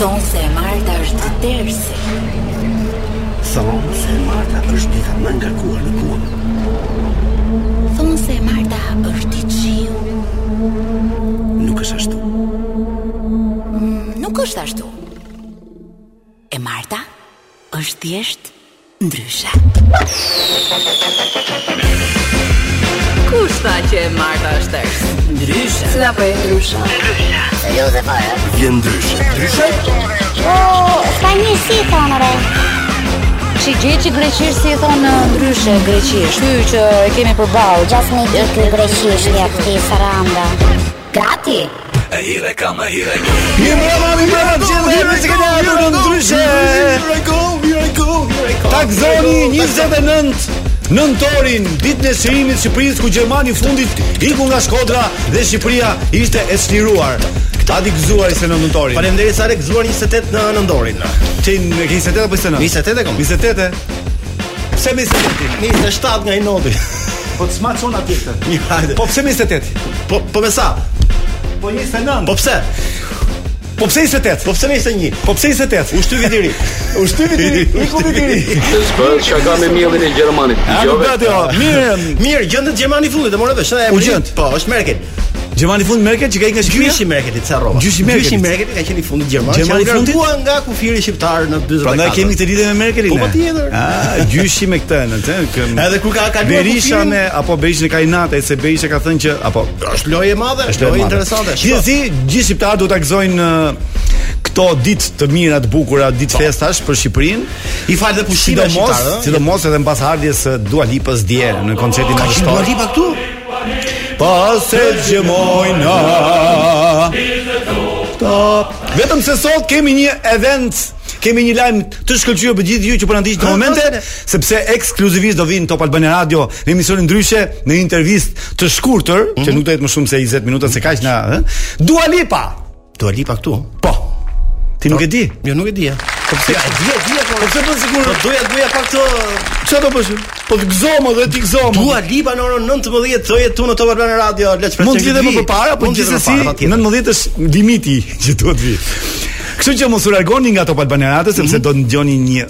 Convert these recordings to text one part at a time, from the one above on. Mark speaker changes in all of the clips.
Speaker 1: Thonë se e Marta është tërsi
Speaker 2: Thonë se Marta është dita më ngarkuar në kuën.
Speaker 1: Thonë se e Marta është i qiu
Speaker 2: Nuk është ashtu.
Speaker 1: Nuk është ashtu E Marta është thjesht ndryshe
Speaker 3: Kush tha që e Marta është tërës? Ndryshe. Si na po e ndryshe?
Speaker 2: Vjen ndryshe. Ndryshe?
Speaker 4: S'ka një si i thonë re
Speaker 5: Që gjë që greqisht si e thonë ndryshe greqisht. Ky që e kemi përballë.
Speaker 4: Gjas me di ky greqishtja këti saranda Gati
Speaker 6: E hire ka më hire
Speaker 2: Mi mbrëma, mi mbrëma, gjithë dhe me që këtë atur në ndryshe. Here I go, here I go, here I go.
Speaker 7: Takzoni 29 nëntorin, ditën e shërimit të Shqipërisë ku Gjermani fundit iku nga Shkodra dhe Shqipëria ishte e çliruar. A di gëzuar ishte në nëntorin.
Speaker 2: Faleminderit sa rekzuar 28 në nëndorin.
Speaker 7: Ti në ke 28 apo 29?
Speaker 2: 28 e kam.
Speaker 7: 28. Pse me 28?
Speaker 2: 27 nga i noti.
Speaker 7: Po të smaç ona tjetër.
Speaker 2: Mirë, hajde.
Speaker 7: Po pse me 28?
Speaker 2: po po me sa?
Speaker 7: Po 29.
Speaker 2: Po pse?
Speaker 7: Po pse 28?
Speaker 2: Po pse me 21?
Speaker 7: Po pse 28?
Speaker 2: U shtyvi diri.
Speaker 7: U shtyvi deri, iku me deri.
Speaker 8: Bërë shaka me mjellin e Gjermanit
Speaker 7: A
Speaker 2: Jo,
Speaker 7: nuk gati o, mirë.
Speaker 2: Mirë, gjendet Gjermani i fundit, e morë vesh, e
Speaker 7: U
Speaker 2: emri-
Speaker 7: gjend.
Speaker 2: Po, është Merkel.
Speaker 7: Gjermani fund merket që ka ikë nga Shqipëria.
Speaker 2: Gjyshi Merkelit sa rrova.
Speaker 7: Gjyshi Merkelit.
Speaker 2: Gjyshi Merkelit ka qenë i fundit Gjerman.
Speaker 7: Gjermani i fundit?
Speaker 2: Gjermani nga kufiri shqiptar në 44.
Speaker 7: Prandaj kemi këtë lidhje me Merkelin.
Speaker 2: Po,
Speaker 7: ne.
Speaker 2: patjetër.
Speaker 7: Ah, gjyshi me këtë, në të, këm.
Speaker 2: Edhe kur ka kaluar
Speaker 7: Berisha
Speaker 2: kufirin-
Speaker 7: me apo Berisha ka inat, e se Berisha ka thënë që apo
Speaker 2: është lojë e madhe, është
Speaker 7: e
Speaker 2: lojë Jo,
Speaker 7: madhe.
Speaker 2: interesante. Shiko,
Speaker 7: Gjithsesi, gjithë shqiptarët do ta gëzojnë ë, këto ditë të mira, të bukura, ditë festash për Shqipërinë.
Speaker 2: Po. I fal dhe pushime
Speaker 7: Sidomos,
Speaker 2: shqiptare, ëh.
Speaker 7: sidomos edhe mbas ardhjes së Dua Lipës dje në koncertin
Speaker 2: Ka qenë Dua
Speaker 7: madhështor.
Speaker 2: Lipa këtu?
Speaker 7: Pas e gjemojna Ta Vetëm se sot kemi një event Kemi një lajm të shkëlqyer për gjithë ju që po na ndiqni në momente, sepse ekskluzivisht do vinë Top Albania Radio në emisionin ndryshe në intervistë të shkurtër,
Speaker 2: Mhm.
Speaker 7: që nuk do jetë më shumë se 20 minuta se kaq na, ëh. Dua Lipa.
Speaker 2: Dua Lipa këtu.
Speaker 7: Po. Ti nuk e di?
Speaker 2: Jo, nuk e di. ja. Po pse? Ja, di, di, po.
Speaker 7: Po pse po sigur?
Speaker 2: Po doja doja pak të
Speaker 7: Çfarë do bësh? Po të gëzom edhe ti gëzom.
Speaker 2: Dua Lipa në orën 19 thoje tu në Top Albana Radio, le të shpresojmë.
Speaker 7: Mund të vi dhe më
Speaker 2: vi.
Speaker 7: përpara, po
Speaker 2: Mund të vi dhe më
Speaker 7: gjithsesi
Speaker 2: përpara, patjetër.
Speaker 7: 19 është limiti që duhet vi. Kështu që mos u largoni nga Top Albania Radio sepse
Speaker 2: Mhm.
Speaker 7: do të dëgjoni një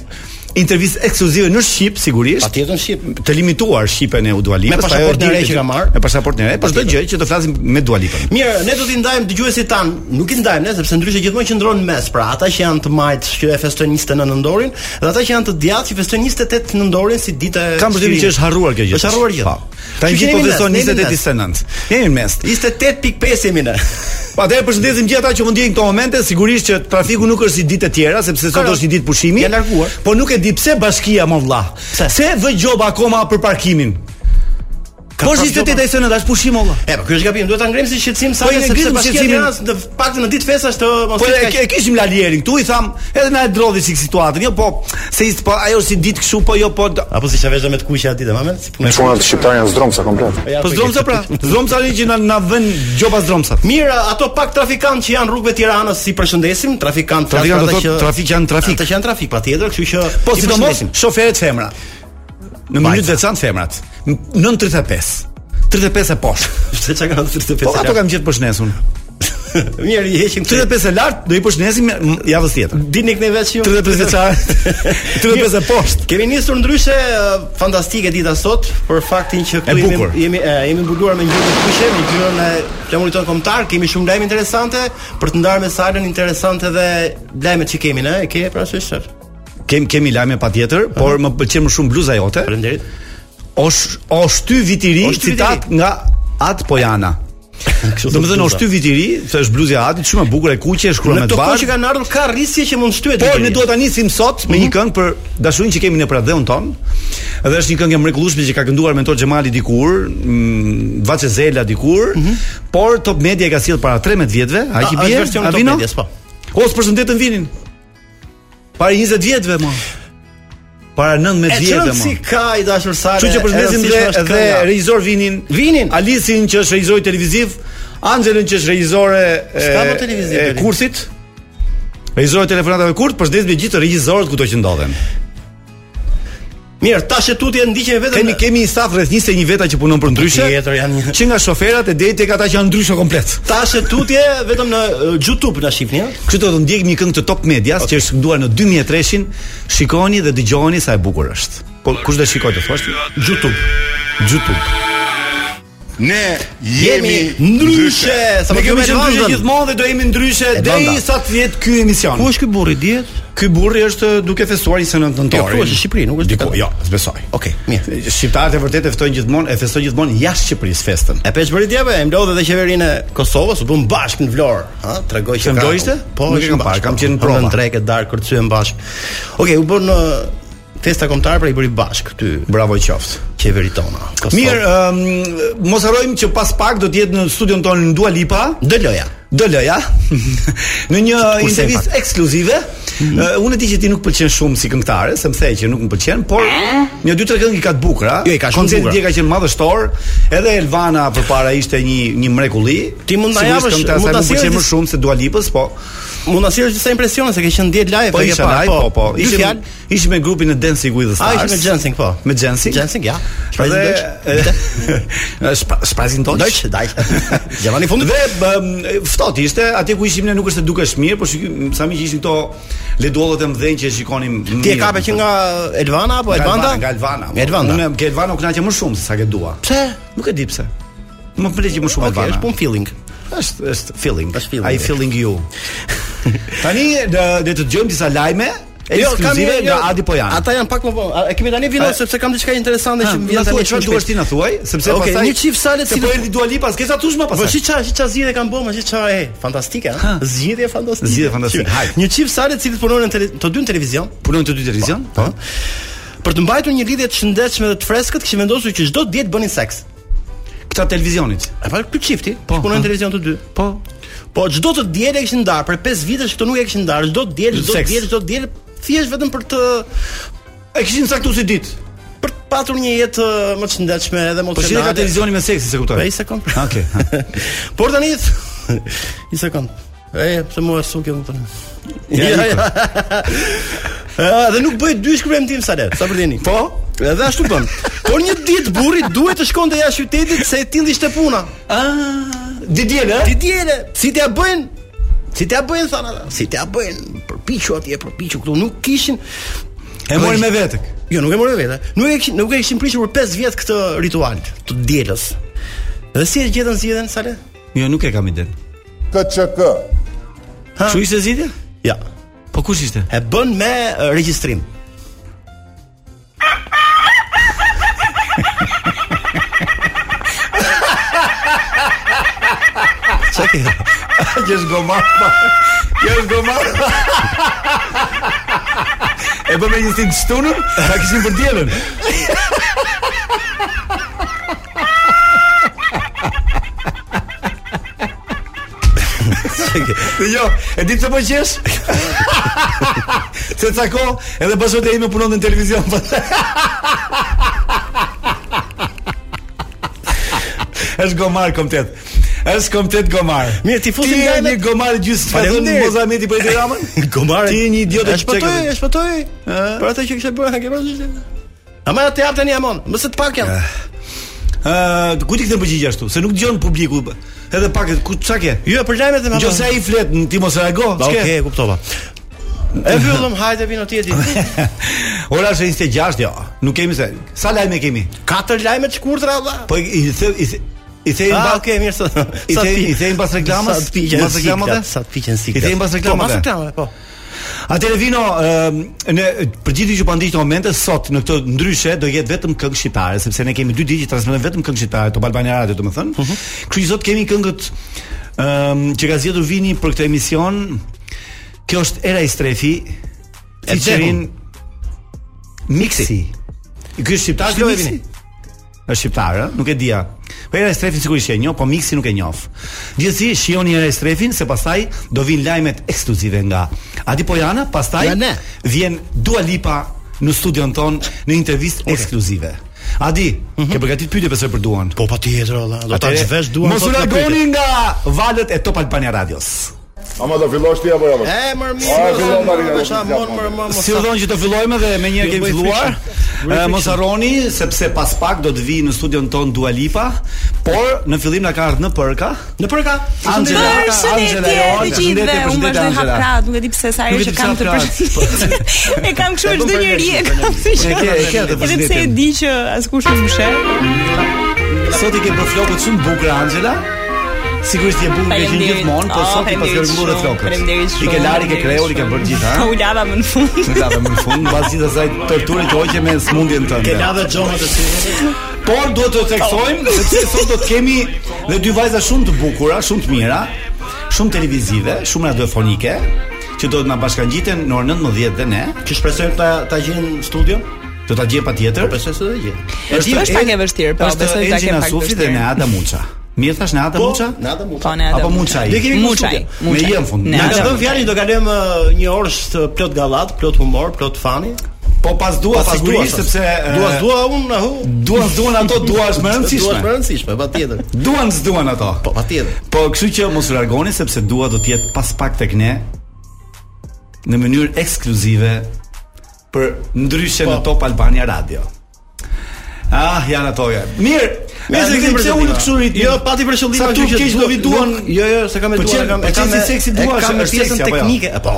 Speaker 7: intervistë ekskluzive në shqip sigurisht.
Speaker 2: Patjetër në shqip.
Speaker 7: Të limituar shqipen e u Dua
Speaker 2: Me
Speaker 7: Lipës,
Speaker 2: pasaportën e
Speaker 7: ajo
Speaker 2: re
Speaker 7: di-
Speaker 2: që ka marrë.
Speaker 7: Me pasaportën e re, po çdo gjë që do flasim me Dua Lipën.
Speaker 2: Mirë, ne do t'i ndajmë dëgjuesit tan. Nuk i ndajmë ne sepse ndryshe gjithmonë qëndron në mes. Pra, ata që janë të majtë që e festojnë 29 nëndorin dhe ata që janë të djathtë që festojnë 28 nëndorin si ditë e
Speaker 7: Kam përshtypjen që
Speaker 2: shkrimit.
Speaker 7: është harruar kjo gjë.
Speaker 2: Është harruar gjë.
Speaker 7: Po. Tani
Speaker 2: Kështu që
Speaker 7: gjithë po
Speaker 2: jemi
Speaker 7: feston
Speaker 2: mes, jemi
Speaker 7: 28
Speaker 2: mes.
Speaker 7: 29. Jemi në mes.
Speaker 2: 28.5 jemi ne.
Speaker 7: Po atëherë përshëndesim gjithë ata që mund ndjejnë këto momente, sigurisht që trafiku nuk është si ditë të tjera, sepse sot
Speaker 2: Karo,
Speaker 7: është një ditë pushimi.
Speaker 2: ja larguar.
Speaker 7: Po nuk e di pse bashkia më vlla.
Speaker 2: Pse?
Speaker 7: Se vë gjoba akoma për parkimin. Po
Speaker 2: pra
Speaker 7: është 28 e sënë dash pushim olla.
Speaker 2: E, po ky është gabim, duhet ta ngrim si shqetësim sa
Speaker 7: Po, i ngrim
Speaker 2: sepse bashkia e
Speaker 7: shqetësimin.
Speaker 2: Tiranës në paktën në ditë festash të mos
Speaker 7: Po
Speaker 2: jetë
Speaker 7: e,
Speaker 2: kaq-
Speaker 7: ke- e kishim lalierin këtu i tham, edhe na e drodhi si situatën. Jo, po se ishte po ajo si ditë kështu, po jo po d-
Speaker 2: Apo si çavezha me të kuqja aty, tamam? Si punë.
Speaker 8: Shkonat shqiptarë janë zdromsa komplet
Speaker 2: Ja,
Speaker 7: Po
Speaker 2: e
Speaker 7: zdromsa
Speaker 2: ke.
Speaker 7: pra, zdromsa një që na na vën gjoba zdromsa.
Speaker 2: Mirë, ato pak trafikantë që janë rrugëve të Tiranës si përshëndesim, trafikantë
Speaker 7: Trafikantë
Speaker 2: ata
Speaker 7: do thotë,
Speaker 2: që-
Speaker 7: trafik janë trafik.
Speaker 2: Ata që janë trafik patjetër, kështu që
Speaker 7: Po
Speaker 2: i
Speaker 7: sidomos
Speaker 2: përshëndesim.
Speaker 7: shoferët femra. Në mënyrë të veçantë femrat. 9:35. 35 e poshtë.
Speaker 2: pse çka kanë 35
Speaker 7: Po ato
Speaker 2: kanë.
Speaker 7: kam gjetë përshnesun.
Speaker 2: Mirë, i heqim këtë.
Speaker 7: 35 e lart do i përshnesim mm, javës tjetër.
Speaker 2: Dini këne vetë që
Speaker 7: 35 e qartë. 35 e poshtë.
Speaker 2: Kemi nisur ndryshe eh, fantastike dita sot për faktin që këtu
Speaker 7: E
Speaker 2: jemi
Speaker 7: bukur.
Speaker 2: jemi e, jemi mbuluar me ngjyrën e kuqe, me ngjyrën e flamurit ton kombëtar, kemi shumë lajme interesante për të ndarë me salën interesante dhe lajmet që kemi ne, e ke parasysh sot.
Speaker 7: Kem kemi lajme patjetër, por më pëlqen më shumë bluza jote.
Speaker 2: Faleminderit.
Speaker 7: O sh- o shty vitiri,
Speaker 2: O shty
Speaker 7: citat nga At Pojana.
Speaker 2: Kështu
Speaker 7: Do të thënë o shty vitiri, se është bluzja e Atit, shumë e bukur e kuqe, e shkruar
Speaker 2: Në
Speaker 7: me
Speaker 2: këto
Speaker 7: të
Speaker 2: kohë që
Speaker 7: bardhë.
Speaker 2: kanë ardhur ka rrisje që mund shtyhet.
Speaker 7: Por
Speaker 2: deri.
Speaker 7: ne duhet ta nisim sot me
Speaker 2: Mhm.
Speaker 7: një këngë për dashurinë që kemi në pradheun ton. Dhe është një këngë e mrekullueshme që ka kënduar Mentor Xhamali dikur, mm, Vaçe Zela dikur, por Top Media e ka sjell para 13 vjetëve,
Speaker 2: Mhm.
Speaker 7: a
Speaker 2: A-
Speaker 7: që
Speaker 2: është
Speaker 7: bie?
Speaker 2: versioni
Speaker 7: A
Speaker 2: Top
Speaker 7: vino?
Speaker 2: Medias, po.
Speaker 7: O, së përshëndetën vinin. Para 20 vjetëve mo. Para 19
Speaker 2: E
Speaker 7: vjetëve
Speaker 2: çon
Speaker 7: mo.
Speaker 2: si ka i dashur salë.
Speaker 7: Kështu që përshëndesim dhe dhe regjisor vinin.
Speaker 2: Vinin.
Speaker 7: Alisin që është regjisor i televiziv, Anxhelën që është regjisore e,
Speaker 2: S'ka më televiziv,
Speaker 7: e
Speaker 2: Elin.
Speaker 7: kursit. Regjisor i telefonatave kurt, përshëndesim me gjithë regjisorët kudo që ndodhen.
Speaker 2: Mirë, tash e tutje ndiqen vetëm
Speaker 7: Kemi kemi një staf rreth 21 veta që punon për ndryshe.
Speaker 2: Tjetër janë një-
Speaker 7: që nga shoferat e deri tek ata që janë ndryshe komplet.
Speaker 2: tash e tutje vetëm në uh, YouTube na shihni, ha?
Speaker 7: Kështu do të ndjekim një këngë të Top Medias që është kënduar në 2003-shin. Shikoni dhe dëgjoni sa e bukur është. Po kush do shikoj të thosh? YouTube. YouTube.
Speaker 9: Ne
Speaker 2: Jemi ndryshe, sa
Speaker 7: Ne
Speaker 2: më
Speaker 7: po kemi
Speaker 2: kemi
Speaker 7: qenë ndryshe
Speaker 2: ndryshe
Speaker 7: gjithmonë dhe do jemi ndryshe
Speaker 2: E
Speaker 7: deri
Speaker 2: bënda.
Speaker 7: sa të vjet ky emision.
Speaker 2: Ku është ky burri dihet?
Speaker 7: Ky burri është duke festuar 29
Speaker 2: Jo,
Speaker 7: nëntorin.
Speaker 2: këtu është në Shqipëri, nuk është
Speaker 7: diku.
Speaker 2: diku.
Speaker 7: Jo, s'besoj.
Speaker 2: Okej, mirë.
Speaker 7: Shqiptarët e vërtetë e ftojnë gjithmonë, e festojnë gjithmonë jashtë Shqipërisë festën.
Speaker 2: E pesh bëri djeve, e mlodhe dhe qeverinë e Kosovës, u bën bashkë në Vlorë, ha? Tregoj që
Speaker 7: Se
Speaker 2: ka-
Speaker 7: mlodhishte?
Speaker 2: Po,
Speaker 7: Nuk e
Speaker 2: ishim
Speaker 7: kam parë,
Speaker 2: bashkë,
Speaker 7: kam
Speaker 2: po.
Speaker 7: qenë në prova.
Speaker 2: Hënën treke darkë kërcyen bashkë. Okej, u bën uh, festa kombëtare pra i bëri bashkë këty
Speaker 7: Bravo qoftë.
Speaker 2: qeveri tona. Kosovë.
Speaker 7: Mirë, uh, ëm, mos harrojmë që pas pak do të jetë në studion tonë në Dua Lipa.
Speaker 2: Dëloja.
Speaker 7: Doloja në një
Speaker 2: Kurse pak.
Speaker 7: intervistë
Speaker 2: Mhm.
Speaker 7: ekskluzive. Ë, unë e di që ti nuk pëlqen shumë si këngëtare, se më the që nuk më pëlqen, por një dy tre këngë i ka të bukura.
Speaker 2: Jo, i ka shumë
Speaker 7: Koncerti
Speaker 2: bukura.
Speaker 7: dje ka qenë madhështor, edhe Elvana përpara ishte një një mrekulli.
Speaker 2: Ti mund ta
Speaker 7: Sigurisht
Speaker 2: japësh-
Speaker 7: këngëtare
Speaker 2: mund
Speaker 7: sa
Speaker 2: ta
Speaker 7: më pëlqen
Speaker 2: sjellësh-
Speaker 7: më shumë se Dua Lipës, po
Speaker 2: Mund ta sjellësh disa impresione se ke qenë dje live,
Speaker 7: po
Speaker 2: e ke
Speaker 7: isha
Speaker 2: parë,
Speaker 7: live, po po.
Speaker 2: Dy
Speaker 7: Ishim
Speaker 2: fjalë.
Speaker 7: ishim me grupin e Dancing with the
Speaker 2: A
Speaker 7: Stars.
Speaker 2: ishim me Jensing, po.
Speaker 7: Me Jensing.
Speaker 2: Jensing, ja. Shprajzi
Speaker 7: Dhe e, shpa- Shprajzin Deutsch.
Speaker 2: Deutsch, Deutsch. Gjermani fundit.
Speaker 7: Dhe bëm, ftohtë ishte, atje ku ishim ne nuk është se dukesh mirë, por shikim sa miq ishin këto leduollat e mëdhenj që shikonim mirë. po,
Speaker 2: Ti e kape që nga Elvana apo
Speaker 7: Nga
Speaker 2: Elvanda?
Speaker 7: Nga Elvana.
Speaker 2: Nga Elvanda.
Speaker 7: Unë ke Elvana u kënaqja më shumë se sa ke dua.
Speaker 2: Pse?
Speaker 7: Nuk e di pse. Më pëlqej më shumë
Speaker 2: Okej,
Speaker 7: Elvana.
Speaker 2: është pun feeling.
Speaker 7: Është është feeling.
Speaker 2: Është feeling.
Speaker 7: I feeling you. Tani do do të dëgjojmë disa lajme ekskluzive
Speaker 2: Jo, një-
Speaker 7: nga Adi Pojani.
Speaker 2: Ata janë pak më vonë. A- E kemi tani vino
Speaker 7: A-
Speaker 2: sepse kam diçka interesante
Speaker 7: Ha,
Speaker 2: që më
Speaker 7: na
Speaker 2: vjen
Speaker 7: thuaj
Speaker 2: tani.
Speaker 7: çfarë duash ti na thuaj, sepse
Speaker 2: Okej,
Speaker 7: pastaj
Speaker 2: një çift sale
Speaker 7: se
Speaker 2: cilë-
Speaker 7: po erdhi Dua Lipa, s'ke sa tush më
Speaker 2: Po
Speaker 7: pastaj.
Speaker 2: si ça, si ça zgjidhje kanë bërë, ma si ça e fantastike, ha? Zgjidhje fantastike.
Speaker 7: Zgjidhje fantastike,
Speaker 2: Që-
Speaker 7: hajde.
Speaker 2: Një çift sale të cilët punojnë në tele- të dy në televizion,
Speaker 7: Punojnë të dy televizion?
Speaker 2: po. Për të mbajtur një lidhje të shëndetshme dhe të freskët, kishin vendosur që çdo ditë bënin seks.
Speaker 7: Këta televizionit.
Speaker 2: E pa ky çifti,
Speaker 7: Po,
Speaker 2: që punojnë
Speaker 7: po.
Speaker 2: në televizion të dy.
Speaker 7: Po.
Speaker 2: Po çdo të dielë e kishin ndar, për 5 vitesh këto nuk e kishin ndar, çdo dielë, çdo
Speaker 7: Seks.
Speaker 2: dielë, çdo dielë thjesht vetëm për të
Speaker 7: E kishin saktu si ditë.
Speaker 2: për të patur një jetë ë, më të shëndetshme edhe më të
Speaker 7: Po si ka
Speaker 2: qenate.
Speaker 7: televizioni me seksi, se kuptoj.
Speaker 2: Po, i sekond.
Speaker 7: Okej.
Speaker 2: Por tani i sekond. E, pse mua su kjo më tani.
Speaker 7: Ja,
Speaker 2: Ja,
Speaker 7: iku.
Speaker 2: ja. Ë, Dhe nuk bëj dy shkrim tim sa let, sa për dini.
Speaker 7: Po.
Speaker 2: Edhe ashtu bën. Por një ditë burri duhet të shkonte jashtë qytetit se e tillë ishte puna.
Speaker 7: Ah, di diel,
Speaker 2: Ti
Speaker 7: ë?
Speaker 2: djele, si t'ja bëjnë? Si t'ja bëjnë thanë ata? Si t'ja bëjnë? Përpiqu atje, përpiqu këtu, nuk kishin
Speaker 7: E mori me vete.
Speaker 2: Jo, nuk e morën vetë. Nuk e kishin nuk e kishin prishur për 5 vjet këtë ritual të dielës. Dhe si e gjetën zgjidhjen Sale?
Speaker 7: Jo, nuk e kam iden.
Speaker 9: KÇK.
Speaker 2: Ha?
Speaker 7: Çu ishte zgjidhja?
Speaker 2: Ja.
Speaker 7: Po kush ishte?
Speaker 2: E bën me e, regjistrim.
Speaker 7: Që është gomar. Që është gomar. E bëmë një stint shtunën, ta kishin për dielën. Dhe jo, e di pse po qesh? Se ca kohë edhe bashkët e ime punon në televizion. Është gomar komplet. Është komplet gomar.
Speaker 2: Mirë, ti fusim
Speaker 7: Ti je
Speaker 2: lajmet.
Speaker 7: një gomar gjysmë.
Speaker 2: Faleminderit.
Speaker 7: Moza Meti për Tiranën.
Speaker 2: Gomare.
Speaker 7: Ti je një idiot
Speaker 2: e
Speaker 7: e
Speaker 2: shpëtoi,
Speaker 7: çekave.
Speaker 2: e shpëtoi. Për atë që kishte bërë, ke pasur. Ama ja të jap tani amon, mos të pak jam.
Speaker 7: Ë, ku ti kthen përgjigje ashtu? Se nuk dëgjon publiku. Edhe pak ku çka ke?
Speaker 2: Jo, për lajmet e
Speaker 7: Nëse ai flet, n- ti mos reago.
Speaker 2: Ba,
Speaker 7: s'ke.
Speaker 2: Okej, e kuptova. E mbyllëm, hajde vino ti e di. Ah,
Speaker 7: Ora është 26, jo. Nuk kemi se. Sa lajme kemi?
Speaker 2: Katër lajme të shkurtra valla.
Speaker 7: Po i i the i the i thejmë
Speaker 2: Ah,
Speaker 7: ba-
Speaker 2: okay, mirë sa.
Speaker 7: I
Speaker 2: sa
Speaker 7: the-
Speaker 2: pi-
Speaker 7: i thejmë pas reklamës?
Speaker 2: Sa të piqen
Speaker 7: Pas reklamave?
Speaker 2: siklat, Sa të piqen siklat.
Speaker 7: I thejmë pas
Speaker 2: Po,
Speaker 7: reklamave?
Speaker 2: pas reklamave, po.
Speaker 7: Atëre vino, ë, në për gjithë që po ndiq në momente sot në këtë ndryshe do jetë vetëm këngë shqiptare, sepse ne kemi dy ditë që transmetojmë vetëm këngë shqiptare Top Albania Radio, domethënë. Uh Kështu që sot kemi këngët ëm që ka zgjedhur Vini për këtë emision. Kjo është Era i Strefi, featuring Mixi. Ky është shqiptar
Speaker 2: Shlo e
Speaker 7: Mixi?
Speaker 2: Vini.
Speaker 7: Është shqiptar, ë? nuk e dija. Po era e strefin sigurisht e njoh, po miksi nuk e njoh. Gjithsesi shihoni era e strefin se pastaj do vin lajmet ekskluzive nga Adi Pojana, pastaj
Speaker 2: Nga ne.
Speaker 7: vjen Dua Lipa në studion ton në intervistë ekskluzive. Adi, ke përgatitur pyetje besoj për Duan.
Speaker 2: Po patjetër valla, do Mhm. Po, ta
Speaker 7: Atëre,
Speaker 2: zhvesh duan.
Speaker 7: Mos u largoni nga valët e Top Albania Radios.
Speaker 9: Ama do fillosh ti apo jo?
Speaker 2: E mërë
Speaker 9: A, e fillon tani,
Speaker 2: mirë. Sa
Speaker 9: tani,
Speaker 2: mon
Speaker 9: tani.
Speaker 2: mërë mërë.
Speaker 7: Si u dhonë që të fillojmë dhe me një
Speaker 2: Jo,
Speaker 7: kemi
Speaker 2: bëj
Speaker 7: filluar.
Speaker 2: friction. Bëj
Speaker 7: Eh, Mos
Speaker 2: friction.
Speaker 7: harroni sepse pas pak do të vi në studion ton Dua Lipa, por në fillim na ka ardhur në përka.
Speaker 2: Në përka.
Speaker 7: Angela, Angela
Speaker 10: Përshëndetje
Speaker 7: Joana,
Speaker 10: të gjithëve.
Speaker 7: përshëndetje,
Speaker 10: Unë
Speaker 7: përshëndetje,
Speaker 10: vazhdoj hap
Speaker 7: Angela.
Speaker 10: krahët, nuk e di pse sa herë
Speaker 7: Nuk e
Speaker 10: që
Speaker 7: di
Speaker 10: kam
Speaker 7: pse po.
Speaker 10: të
Speaker 7: hap
Speaker 10: përshëndetje. E kam kështu
Speaker 2: E bën
Speaker 10: çdo njeri e kam
Speaker 2: përshëndetje.
Speaker 10: kështu që-
Speaker 7: E ke- e ke atë
Speaker 10: Edhe pse e
Speaker 7: përshëndetjen.
Speaker 10: di që askush nuk më sheh.
Speaker 7: Sot i ke bërë flokët shumë bukura Angela. Sigurisht je bukur ke qenë
Speaker 10: Faleminderit.
Speaker 7: gjithmonë, po
Speaker 10: Oh,
Speaker 7: sot i pas
Speaker 10: faleminderit
Speaker 7: gërmuar
Speaker 10: shumë,
Speaker 7: flokët.
Speaker 10: faleminderit
Speaker 7: I ke lari, i ke
Speaker 10: shumë, faleminderit
Speaker 7: kreol, i ke
Speaker 10: shumë.
Speaker 7: bërë gjithë,
Speaker 10: Po u
Speaker 7: ha?
Speaker 10: lava më në fund.
Speaker 7: Në lavë më në fund, mbas gjithë asaj torture që hoqe me smundjen tënde.
Speaker 2: Ke lavë xhonat e si.
Speaker 7: Por duhet të theksojmë sepse sot do të kemi dhe dy vajza shumë të bukura, shumë të mira, shumë televizive, shumë radiofonike, që do të na bashkangjiten në orën 19 dhe ne,
Speaker 2: Që shpresojmë ta ta gjejnë studion?
Speaker 7: do ta gjej patjetër.
Speaker 2: Besoj se do gjej.
Speaker 10: di, është pak e vështirë, po, besoj ta kem pak
Speaker 7: Sufi
Speaker 10: vështirë.
Speaker 7: dhe Neada Muça. Mirë thash Neada Muça?
Speaker 2: nada mu.
Speaker 10: Po ne atë.
Speaker 7: Apo Muçaj.
Speaker 2: Ne kemi
Speaker 10: Muçaj.
Speaker 2: konsultim.
Speaker 7: Me
Speaker 10: Muçaj.
Speaker 7: je në fund.
Speaker 10: Ne
Speaker 2: Na ka
Speaker 10: atë.
Speaker 2: dhënë fjalën do kalojmë ë, një orë të plot gallat, plot humor, plot fani.
Speaker 7: Po pas dua
Speaker 2: Pas
Speaker 7: sigurisht
Speaker 2: duash,
Speaker 7: sepse eh, e,
Speaker 2: duas dua unë ahu.
Speaker 7: duan duan ato duash
Speaker 2: Duas
Speaker 7: më
Speaker 2: më
Speaker 7: rëndësishme.
Speaker 2: rëndësishme, patjetër.
Speaker 7: Duan s'duan ato.
Speaker 2: Po patjetër.
Speaker 7: Po, kështu që mos u largoni sepse dua do të jetë pas pak tek ne në mënyrë ekskluzive për ndryshe
Speaker 2: Po.
Speaker 7: në Top Albania Radio. Ah, janë ato ja. Mirë, nëse
Speaker 2: nuk
Speaker 7: ke
Speaker 2: i
Speaker 7: pse
Speaker 2: përshëllima.
Speaker 7: unë kështu ritmi.
Speaker 2: Jo, pati përshëllim,
Speaker 7: Sa
Speaker 2: ashtu
Speaker 7: tu
Speaker 2: që
Speaker 7: keq
Speaker 2: du-
Speaker 7: do vi duan.
Speaker 2: nuk- Jo, jo, se kam e
Speaker 7: Po
Speaker 2: duan,
Speaker 7: qen-
Speaker 2: kam-
Speaker 7: po
Speaker 2: e
Speaker 7: qen
Speaker 2: kam
Speaker 7: si
Speaker 2: e-
Speaker 7: seksi
Speaker 2: e
Speaker 7: dua,
Speaker 2: kam
Speaker 7: është
Speaker 2: e pjesën
Speaker 7: seksi, apo jo?
Speaker 2: teknike. E, Po,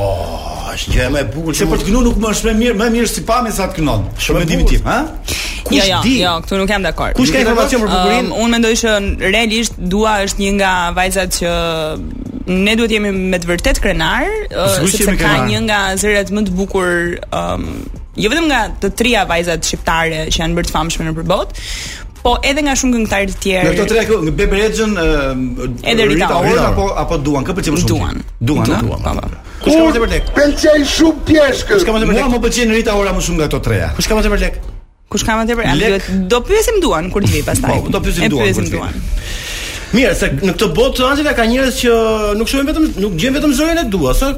Speaker 2: është gjë më e bukur
Speaker 7: Se për të kënu nuk më është më mirë, më mirë si pam e sa të kënon.
Speaker 2: Shumë
Speaker 7: Shumë
Speaker 2: e
Speaker 7: mendimi
Speaker 2: bukur.
Speaker 7: tim, ha?
Speaker 10: Jo,
Speaker 2: kush
Speaker 10: jo,
Speaker 2: di?
Speaker 10: jo, këtu nuk jam dakord.
Speaker 2: Kush ka informacion për bukurinë?
Speaker 10: Um, unë mendoj që realisht Dua është një nga vajzat që ne duhet jemi me të vërtet krenar, uh,
Speaker 7: Po, Sigurisht
Speaker 10: sepse
Speaker 7: jemi
Speaker 10: ka
Speaker 7: krenar.
Speaker 10: një nga zërat më të bukur um, jo vetëm nga të trija vajzat shqiptare që janë bërë të famshme nëpër botë, po edhe nga shumë këngëtarë të tjerë.
Speaker 7: Në këto tre këngë, Bebe Rexhën,
Speaker 10: Edhe Rita
Speaker 7: Ora
Speaker 10: Ora.
Speaker 7: apo apo Duan, kë pëlqen më shumë?
Speaker 10: Duan.
Speaker 7: Duan, ha?
Speaker 10: Duan, po, po.
Speaker 2: Kush ka më tepër lek?
Speaker 9: Pëlqej shumë pjeshkës.
Speaker 2: Kush ka më tepër
Speaker 7: Mua
Speaker 2: lek?
Speaker 7: më pëlqen Rita Ora më shumë nga ato treja.
Speaker 2: Kush ka më tepër lek?
Speaker 10: Kush ka më tepër? A,
Speaker 7: Lek.
Speaker 10: duhet- Do pyesim Duan kur të vi pastaj.
Speaker 7: Po, do pyesim
Speaker 10: E
Speaker 7: Duan kur të vi.
Speaker 2: Mirë, se në këtë botë Angela ka njerëz që nuk shohin vetëm nuk gjejnë vetëm zërin e dua, sa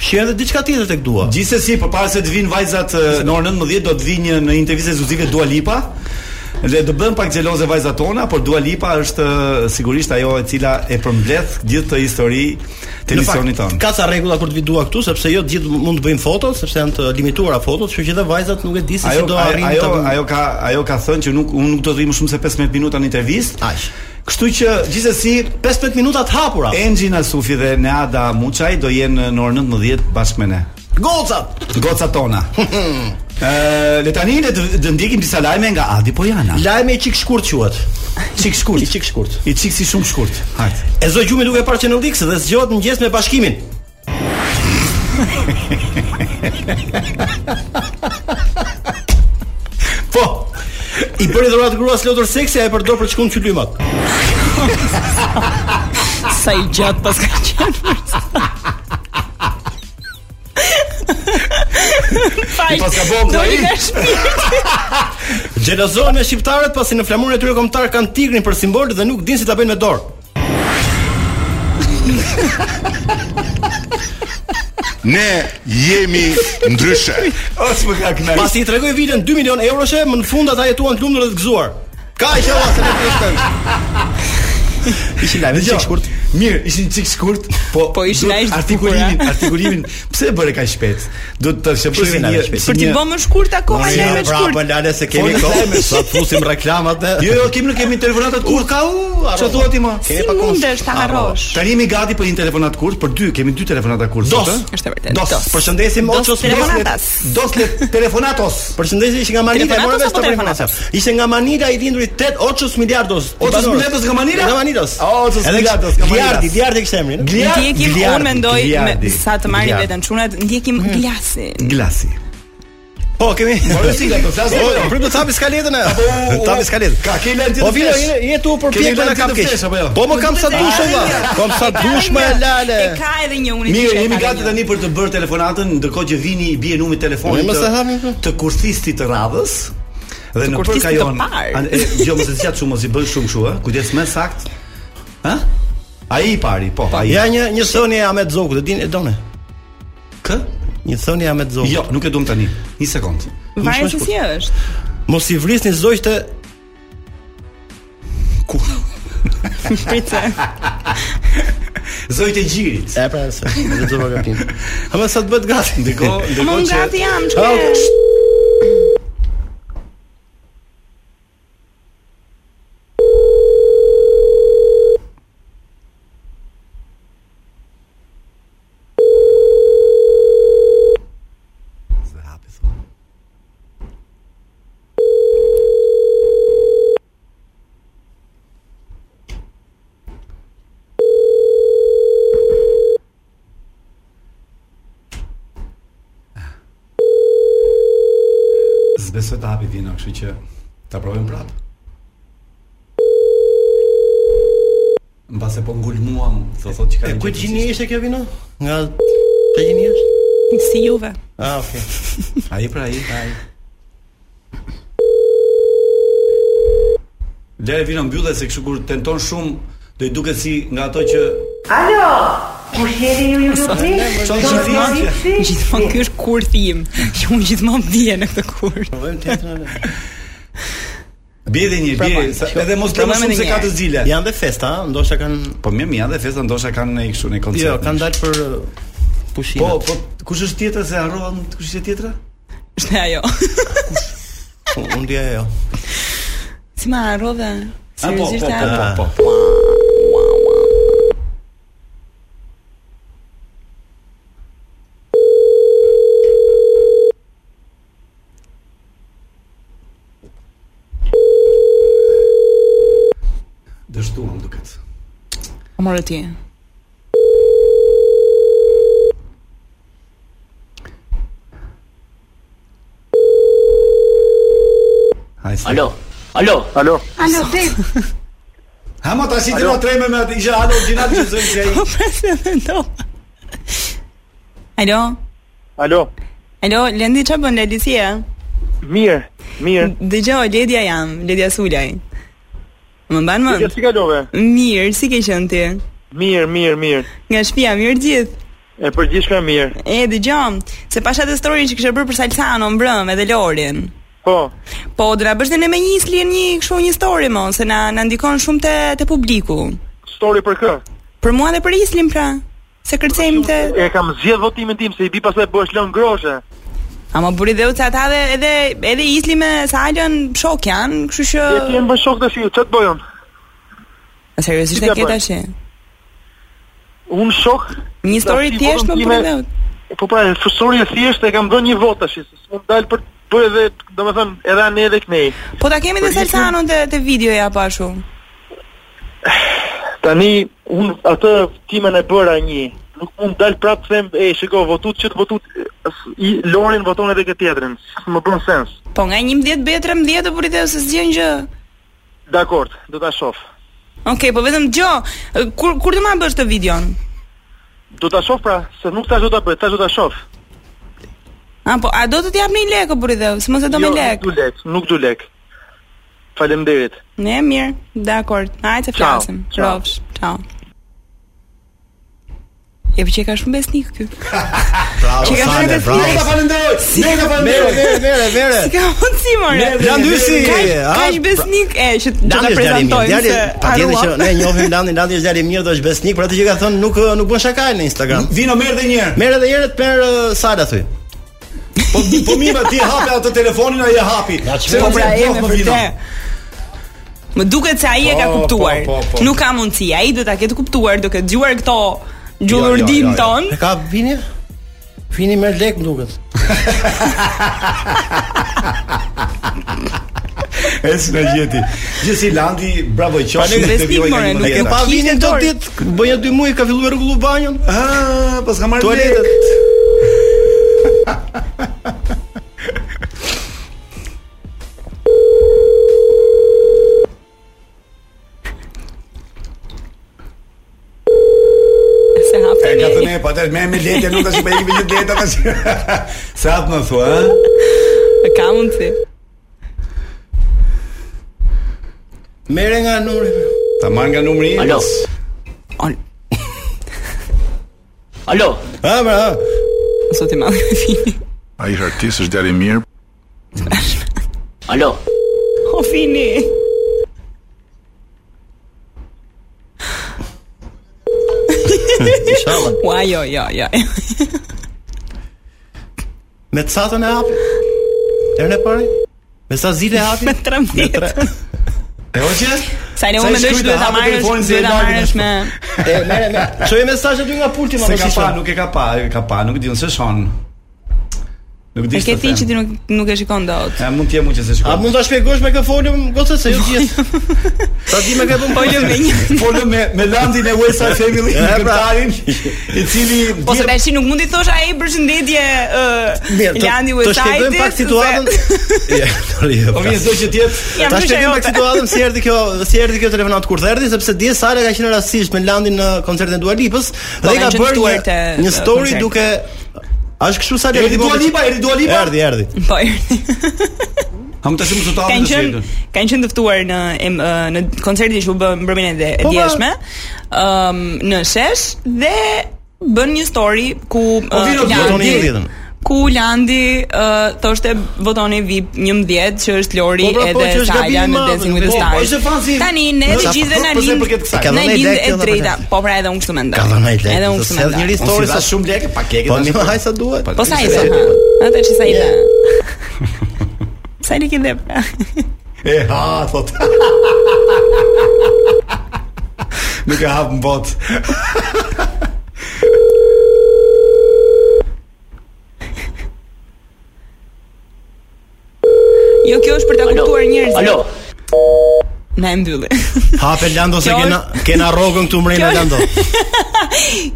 Speaker 2: shihen edhe diçka tjetër tek dua.
Speaker 7: Gjithsesi, përpara se të vinë vajzat e, në orën 19 do të vinë një- në intervistë ekskluzive Dua Lipa. Dhe do bëm pak xheloze vajzat tona, por Dua Lipa është e, sigurisht ajo e cila e përmbledh gjithë këtë histori të
Speaker 2: Në fakt,
Speaker 7: emisionit tonë.
Speaker 2: Ka ca rregulla kur të vi dua këtu, sepse jo të gjithë mund të bëjmë foto, sepse janë të limituara fotot, kështu që edhe vajzat nuk e di se si
Speaker 7: Ajo
Speaker 2: do
Speaker 7: ajo
Speaker 2: arrijnë
Speaker 7: ajo,
Speaker 2: të
Speaker 7: ajo ka ajo ka thënë që nuk unë nuk do të vi më shumë se 15 minuta në intervistë.
Speaker 2: Aq.
Speaker 7: Kështu që gjithsesi
Speaker 2: 15 minuta të hapura.
Speaker 7: Enxhi Nasufi dhe Neada Muçaj do jenë në orën 19 bashkë me ne.
Speaker 2: Gocat.
Speaker 7: Gocat tona. Ë, le tani le të të ndjekim disa lajme nga Adi Pojana.
Speaker 2: Lajmi i çik shkurt quhet.
Speaker 7: Çik shkurt.
Speaker 2: I çik shkurt.
Speaker 7: I çik si shumë shkurt. Hajt.
Speaker 2: E zoj gjumi duke parë Channel X dhe zgjohet në mëngjes me bashkimin.
Speaker 7: Po.
Speaker 2: I bëri dhurat gruas lotur seksi, ai e përdor për të shkuar në qylymat.
Speaker 10: Sa i gjatë pas ka qenë. Faj.
Speaker 7: Pas ka bërë
Speaker 10: Do i
Speaker 7: ai.
Speaker 10: ka shpirë.
Speaker 2: Xhelozohen me shqiptarët pasi në flamurin e tyre kombëtar kanë tigrin për simbol dhe nuk dinë si ta bëjnë me dorë.
Speaker 9: Ne jemi ndryshe.
Speaker 7: Os më ka kënaq.
Speaker 2: Pasi i tregoi vitën 2 milion euroshe, më në fund ata jetuan të lumtur dhe të gëzuar. Kaq që ose ne kemi. Ishin lajme
Speaker 7: Dgjoj.
Speaker 2: çik shkurt.
Speaker 7: Jo, Mirë, ishin çik shkurt, po
Speaker 10: Po ishin
Speaker 7: duhet
Speaker 10: aq të
Speaker 7: artikulimin,
Speaker 10: bukura.
Speaker 7: artikulimin. Pse e bëre kaq shpejt? Do të
Speaker 2: Pse
Speaker 7: shpërshoj
Speaker 2: e bëre
Speaker 7: një
Speaker 2: kaq shpejt?
Speaker 7: si
Speaker 10: Për t'i
Speaker 7: një-
Speaker 10: bë më shkurt akoma
Speaker 7: Mos
Speaker 10: ne
Speaker 7: ja,
Speaker 10: me shkurt.
Speaker 2: lale se
Speaker 7: Folën lajme.
Speaker 2: sa të fusim reklamat dhe.
Speaker 7: Jo, jo, kemi nuk kemi telefonata të kurtë. Ka u. Ço duhet ti më?
Speaker 10: Si mundesh ta harrosh?
Speaker 7: Tani jemi gati për një telefonat të kurtë, për dy, kemi dy telefonata të kurtë.
Speaker 2: Dos.
Speaker 7: sot, ë?
Speaker 10: Është e vërtetë,
Speaker 7: Dos.
Speaker 10: dos.
Speaker 2: Përshëndesim
Speaker 10: Dos
Speaker 2: Oços
Speaker 10: telefonatas.
Speaker 7: Dos le telefonatos.
Speaker 2: Përshëndetje ishte nga Manila, e
Speaker 10: Telefonatos
Speaker 2: morëm
Speaker 10: apo
Speaker 2: vetë telefonata. Ishte nga Manila i linduri 8 Oços miliardos.
Speaker 7: Oços
Speaker 2: Banorës.
Speaker 7: miliardos nga Manila?
Speaker 2: Nga Manilos.
Speaker 7: A, Oços
Speaker 2: Edhe
Speaker 7: miliardos nga Manilas.
Speaker 2: Gliardi, Gliardi kishte emrin. ë?
Speaker 7: Glia-
Speaker 10: Ndjekim,
Speaker 7: Gliardi,
Speaker 10: unë mendoj
Speaker 7: Gliardi, Mhm.
Speaker 10: me sa të marrin
Speaker 7: Gliardi.
Speaker 10: veten çunat, ndjekim glasin.
Speaker 7: Glasi.
Speaker 2: Po, kemi.
Speaker 7: Morëm si nga do flasim.
Speaker 2: Po, prit të thapi skaletën. ë?
Speaker 7: Po,
Speaker 2: Thapi skaletën.
Speaker 7: Ka ke lajm
Speaker 2: Po vino, je- je tu për
Speaker 7: Kemi
Speaker 2: pjekën
Speaker 7: lajm
Speaker 2: e kap
Speaker 7: tjetër
Speaker 2: keq.
Speaker 7: flesh, apo jo?
Speaker 2: Po më kam sa dush olla. Kam sa dush më lale.
Speaker 10: E ka edhe një unë.
Speaker 7: Mirë, jemi gati tani për të bërë telefonatën, ndërkohë që vini i bie numri i telefonit
Speaker 2: Po, mos e hapni
Speaker 7: të,
Speaker 2: këtu.
Speaker 7: të kurthistit të radhës. Dhe në
Speaker 10: kurthistit
Speaker 7: përka
Speaker 10: të
Speaker 7: jon.
Speaker 10: parë.
Speaker 7: an- e, Jo, mos e zgjat shumë, mos i bën shumë kështu, ë. Kujdes më sakt. Ë? Ai i pari, po, ai.
Speaker 2: Ja një një thënie Ahmet Zoku, e dini e donë.
Speaker 7: Kë?
Speaker 2: Një thënie Ahmet Zoku.
Speaker 7: Jo, nuk e duam tani. Një sekond.
Speaker 10: Varet se si është.
Speaker 2: Mos i vrisni zogjtë
Speaker 10: Pritë.
Speaker 7: Zojtë e gjirit.
Speaker 2: E pra, se do të vogapin. Ama sa të bëhet gati
Speaker 7: Ndiko, ndiko
Speaker 10: Ama unë
Speaker 7: që
Speaker 10: gati jam,
Speaker 7: Ah,
Speaker 10: çfarë?
Speaker 7: ok. Se hapi, thua. Zbesoj të hapi vina, kështu që ta provojmë prapë. Mbase po ngulmuam, thotë thotë që ka.
Speaker 2: E
Speaker 7: një
Speaker 2: ku
Speaker 7: gjë
Speaker 2: gjini ishte kjo vino? Nga te gjini është?
Speaker 10: Si juve.
Speaker 2: Ah, okay.
Speaker 7: rëndësishme. Ai pra ai, ai. Lere vino mbyllet se kështu kur tenton shumë do i duket si nga ato që
Speaker 10: Po
Speaker 7: Alo! Kush jeni ju ju lupi?
Speaker 10: Gjithmonë ky është kurthi im, që unë gjithmonë vdije në këtë kurth.
Speaker 2: Provojmë tjetër.
Speaker 7: Bie dhe një bie, sa- edhe mos kemi
Speaker 10: Problemi
Speaker 7: shumë
Speaker 10: në
Speaker 7: se
Speaker 10: një
Speaker 7: ka të
Speaker 10: herë.
Speaker 7: zile.
Speaker 2: Janë dhe festa, ha? ndoshta kanë
Speaker 7: Po mirë, mirë, dhe festa ndoshta kanë ne kështu në koncert.
Speaker 2: Jo, kanë dalë për uh, pushime.
Speaker 7: Po, po, kush është tjetra se harrova, kush është tjetra?
Speaker 10: Është ajo.
Speaker 2: po unë dia jo.
Speaker 10: Si ma harrove?
Speaker 7: Ah, po, po,
Speaker 10: Seriozisht
Speaker 7: po,
Speaker 10: ajo.
Speaker 7: po, po. Dështuam duket.
Speaker 10: Po morë ti.
Speaker 7: Hajde. se-
Speaker 8: Alo. Alo.
Speaker 5: Alo,
Speaker 11: Alo, babe.
Speaker 7: Ha mo tash i dëna treme me atë isha ato origjinal që zënë se ai.
Speaker 10: Po presë mendova. Alo.
Speaker 5: alo,
Speaker 10: Alo, Lendi çfarë bën Ledi si je?
Speaker 5: mirë, mirë.
Speaker 10: Dëgjoj, Ledja jam, Ledja Sulaj. Më mban
Speaker 5: Ja
Speaker 10: mend?
Speaker 5: si kalove?
Speaker 10: Mirë, si ke qenë ti?
Speaker 5: Mirë, mirë, mirë.
Speaker 10: Nga shtëpia mirë gjithë.
Speaker 5: E përgjithshme mirë.
Speaker 10: E dëgjoj, se pasha të story që kishe bërë për Salsano mbrëm edhe Lorin.
Speaker 5: Po,
Speaker 10: Po, do na bësh dhe ne me Islin një kështu një story mo, se na na ndikon shumë te te publiku.
Speaker 5: story për kë?
Speaker 10: Për mua dhe për Islin pra. Se kërcejmë te
Speaker 5: E kam zgjedh votimin tim se i bi pastaj bëhesh lën groshe.
Speaker 10: Ama buri dhe uca ata dhe edhe edhe Isli me Salën shok janë, kështu që
Speaker 5: E ti e më bën shok tash, ç't bëj unë?
Speaker 10: A, seriozisht
Speaker 5: ti
Speaker 10: e
Speaker 5: ke
Speaker 10: ke
Speaker 5: bërë?
Speaker 10: tash.
Speaker 5: Unë shok.
Speaker 10: Një story
Speaker 5: Tash,
Speaker 10: thjesht më
Speaker 5: votën
Speaker 10: buri
Speaker 5: time-
Speaker 10: dhe
Speaker 5: Po pra, story e thjesht e kam dhënë një vot tash, se s'mund dal për bëj edhe, domethënë, edhe anë edhe kënej.
Speaker 10: Po ta kemi dhe
Speaker 5: Për Islin?
Speaker 10: Salsanon te te videoja pa ashtu.
Speaker 5: Tani un atë timen e bëra një. Nuk mund dal prapë të them, e shiko, votut që të votut s- i Lorin voton edhe këtë tjetrin. Më bën sens.
Speaker 10: Po nga 11 bëhet 13 do buri dhe se s'gjën gjë.
Speaker 5: Dakor, do ta shoh.
Speaker 10: Okej, po vetëm dëgjo, kur kur do ma bësh të videon?
Speaker 5: Do ta shoh pra, se nuk tash do ta bëj, tash do ta shoh.
Speaker 10: A po, a do të t'jap një lekë buri dhe, se mos e do me
Speaker 5: Jo, nuk
Speaker 10: lekë.
Speaker 5: du lek, nuk du lek. Faleminderit.
Speaker 10: Ne mirë, dakord. Hajde të
Speaker 5: Ciao,
Speaker 10: flasim.
Speaker 5: ciao.
Speaker 10: Rrofsh, ciao. E pëlqej ka shumë besnik ky.
Speaker 2: Bravo,
Speaker 10: Që ka
Speaker 2: Sande,
Speaker 10: bërë të
Speaker 2: bravo.
Speaker 10: thjeshtë.
Speaker 7: falenderoj. Ne ta
Speaker 2: Mere, mere, mere, mere.
Speaker 10: Si ka mundësi more?
Speaker 7: Ne- Landysi,
Speaker 10: Ka
Speaker 2: a?
Speaker 10: ish besnik e që që ta
Speaker 2: Landi është djalë i mirë.
Speaker 10: prezantojmë
Speaker 2: Djali,
Speaker 10: se
Speaker 2: patjetër që
Speaker 10: harrua.
Speaker 2: ne njohim Landin, Landi është djalë i mirë, do është besnik, por atë që ka thënë nuk nuk bën shaka në Instagram.
Speaker 7: Vino merr edhe një herë.
Speaker 2: Merë edhe herët për uh, Sala thuj.
Speaker 7: Po po mima ti hapi atë telefonin ai e hapi. Se
Speaker 10: Po
Speaker 7: po
Speaker 10: pra e
Speaker 7: prej
Speaker 10: me
Speaker 7: më vino.
Speaker 10: vërtet. Më duket se ai e ka
Speaker 7: Po,
Speaker 10: kuptuar.
Speaker 7: po, po, po.
Speaker 10: Nuk ka mundësi. Ai do ta ketë kuptuar, do ketë dëgjuar këto
Speaker 7: Jo, jo,
Speaker 10: gjullurdin
Speaker 7: jo, jo.
Speaker 10: ton.
Speaker 2: E ka vini? Vini merr lek më duket.
Speaker 7: Es na gjeti. Gjithsi Landi, bravo qofshin
Speaker 10: ne- Besnik,
Speaker 7: vjoj nga
Speaker 10: more,
Speaker 7: një
Speaker 10: nuk
Speaker 2: E
Speaker 7: tjetër.
Speaker 2: pa
Speaker 10: Kishte
Speaker 2: vini këto
Speaker 10: dorë.
Speaker 2: ditë, bëja 2 muaj ka filluar rregullu banjon.
Speaker 7: Ah, pas ka marrë
Speaker 2: Tualetet.
Speaker 7: lek.
Speaker 10: Se hapte
Speaker 7: E ka
Speaker 10: një.
Speaker 7: thënë e, po atë me me lete nuk tash me ikë me gjithë leta tash. Sa atë më thua, ë?
Speaker 10: Ka mundësi.
Speaker 2: Merë nga numri.
Speaker 7: Ta marr nga numri im.
Speaker 8: Alo. Alo.
Speaker 2: Ha, bra. ha.
Speaker 10: Sot i madh fini.
Speaker 12: Ai është artist, është djalë i mirë.
Speaker 8: Alo.
Speaker 10: O fini.
Speaker 13: inshallah.
Speaker 10: Ua, jo, jo, jo.
Speaker 2: Me të satën e hapi? Erën e pari? Me sa zile hapi?
Speaker 10: Me tre
Speaker 2: Me tre. E o që?
Speaker 10: Sa ne u mendosh duhet ta marrësh, duhet ta marrësh me
Speaker 7: po.
Speaker 2: E merre me. Çoj mesazhe aty nga pulti më
Speaker 7: Se ka pa, nuk e ka pa, e ka pa, nuk e di nëse shon. Nuk di.
Speaker 10: E ke
Speaker 7: s'të
Speaker 10: ti
Speaker 7: them.
Speaker 10: që ti nuk nuk e shikon dot.
Speaker 7: E mund të jem unë që se shkoj.
Speaker 2: A mund ta shpjegosh me kë folëm gocë
Speaker 7: Jo.
Speaker 2: se ju gjithë. Sa di me kë bën
Speaker 10: Folëm Po, jo, me një.
Speaker 7: Folëm me me Landin e Westside Family,
Speaker 2: E, pra.
Speaker 7: këngëtarin, i cili
Speaker 10: Po se tash nuk mundi thosh ai përshëndetje
Speaker 7: Mirë,
Speaker 10: ë
Speaker 7: të-
Speaker 10: Landi
Speaker 7: të
Speaker 10: Westside.
Speaker 7: shpjegojmë pak situatën. Po mirë, do që të jetë.
Speaker 10: Jam
Speaker 2: Ta
Speaker 10: dyshe
Speaker 2: shpjegojmë pak
Speaker 10: jote.
Speaker 2: situatën si erdhi kjo, si erdhi kjo telefonat kur erdhi sepse dje Sara ka qenë rastisht me Landin në koncertin e Dua Lipës
Speaker 10: Po,
Speaker 2: dhe
Speaker 10: kanë
Speaker 2: ka
Speaker 10: qenë
Speaker 2: bërë
Speaker 10: ftuar
Speaker 2: një,
Speaker 10: te-
Speaker 2: një
Speaker 10: te
Speaker 2: story
Speaker 10: koncerti.
Speaker 2: duke A është kështu sa le-
Speaker 7: Erdhi Dua Lipa, erdhi Dua Lipa?
Speaker 2: Erdhi, erdhi.
Speaker 10: Po.
Speaker 7: Ham tash më sot
Speaker 10: Kanë
Speaker 7: avë
Speaker 10: qenë kanë qenë të ftuar në em, ë, në koncertin që u bë mbrëmjen e dhe- e
Speaker 7: Po, ma-
Speaker 10: djeshme, ëm në shesh dhe bën një story ku
Speaker 2: Po,
Speaker 10: ë,
Speaker 2: vino,
Speaker 10: Landi-
Speaker 2: votoni një tjetën.
Speaker 10: ku Landi ë, thoshte votoni VIP 11 që është Lori
Speaker 2: Po, pra, po, që
Speaker 10: edhe
Speaker 2: është
Speaker 10: Sala
Speaker 2: gabim i
Speaker 10: në
Speaker 2: madh,
Speaker 10: Dancing with the
Speaker 2: po, po,
Speaker 10: Stars.
Speaker 2: ishte fanzi.
Speaker 10: Tani ne
Speaker 2: Po,
Speaker 10: të
Speaker 2: sa-
Speaker 10: gjithë na
Speaker 2: po, pse
Speaker 10: lind.
Speaker 2: përket kësaj? Ka
Speaker 10: Na
Speaker 2: dhënë ai
Speaker 10: lind
Speaker 2: lek
Speaker 10: e
Speaker 2: edhe për
Speaker 10: drejta.
Speaker 2: këtë.
Speaker 10: Po pra edhe unë kështu mendoj.
Speaker 2: Ka dhënë ai lek.
Speaker 10: Edhe unë
Speaker 2: se
Speaker 10: kështu
Speaker 2: s'erdhi
Speaker 10: mendoj.
Speaker 2: njëri story sa
Speaker 7: shumë lekë, pa kekë.
Speaker 2: Po mirë, haj sa duhet.
Speaker 10: Po sa i sa? Atë që sa i dha. Sa i ke dhënë? pra?
Speaker 7: E ha, thot. Nuk e hap në bot.
Speaker 10: Jo, kjo është për ta kuptuar njerëzit.
Speaker 8: Alo.
Speaker 10: Na e mbylli.
Speaker 2: Hape Lando se
Speaker 10: Kjo
Speaker 2: kena kena rrogën këtu mrena Lando.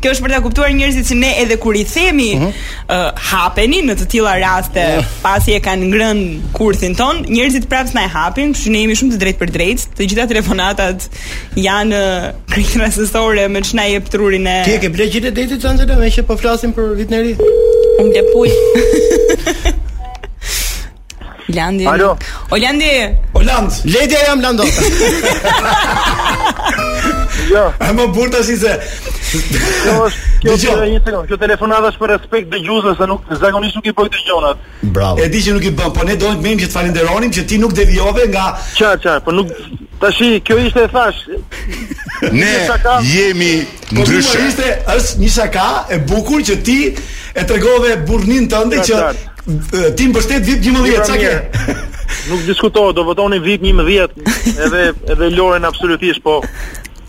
Speaker 10: Kjo është për ta kuptuar njerëzit se ne edhe kur i themi ë, hapeni në të tilla raste, pasi e kanë ngrënë kurthin ton, njerëzit prapë na e hapin, kështu ne jemi shumë të drejtë për drejtë. Të gjitha telefonatat janë ë, krejt rastësore me ç'na jep trurin e
Speaker 2: Ti e ke bler gjitë detit Xhanxhela me që po flasim për vitin e ri.
Speaker 10: Unë le puj. Landi.
Speaker 2: Alo.
Speaker 10: O Landi.
Speaker 7: Oland.
Speaker 2: Ledja jam Lando.
Speaker 5: Jo.
Speaker 7: E më burr tash se
Speaker 5: Kjo është kjo është një sekond. Kjo telefonata është për respekt dëgjuesve se nuk zakonisht nuk i bëj dëgjonat.
Speaker 2: Bravo.
Speaker 7: E di që nuk i bën, po ne dohet mem që të falenderonim që ti nuk devijove nga
Speaker 5: Qa, qa, po nuk tashi kjo ishte e thash.
Speaker 9: Ne jemi
Speaker 7: Po mirë,
Speaker 9: ndryshe.
Speaker 7: ishte është një shaka e bukur që ti e tregove burrnin tënde që
Speaker 5: Qartë,
Speaker 7: e, ti mbështet VIP 11, çka ke?
Speaker 5: Nuk diskutohet, do votoni VIP 11 edhe edhe Loren absolutisht, po.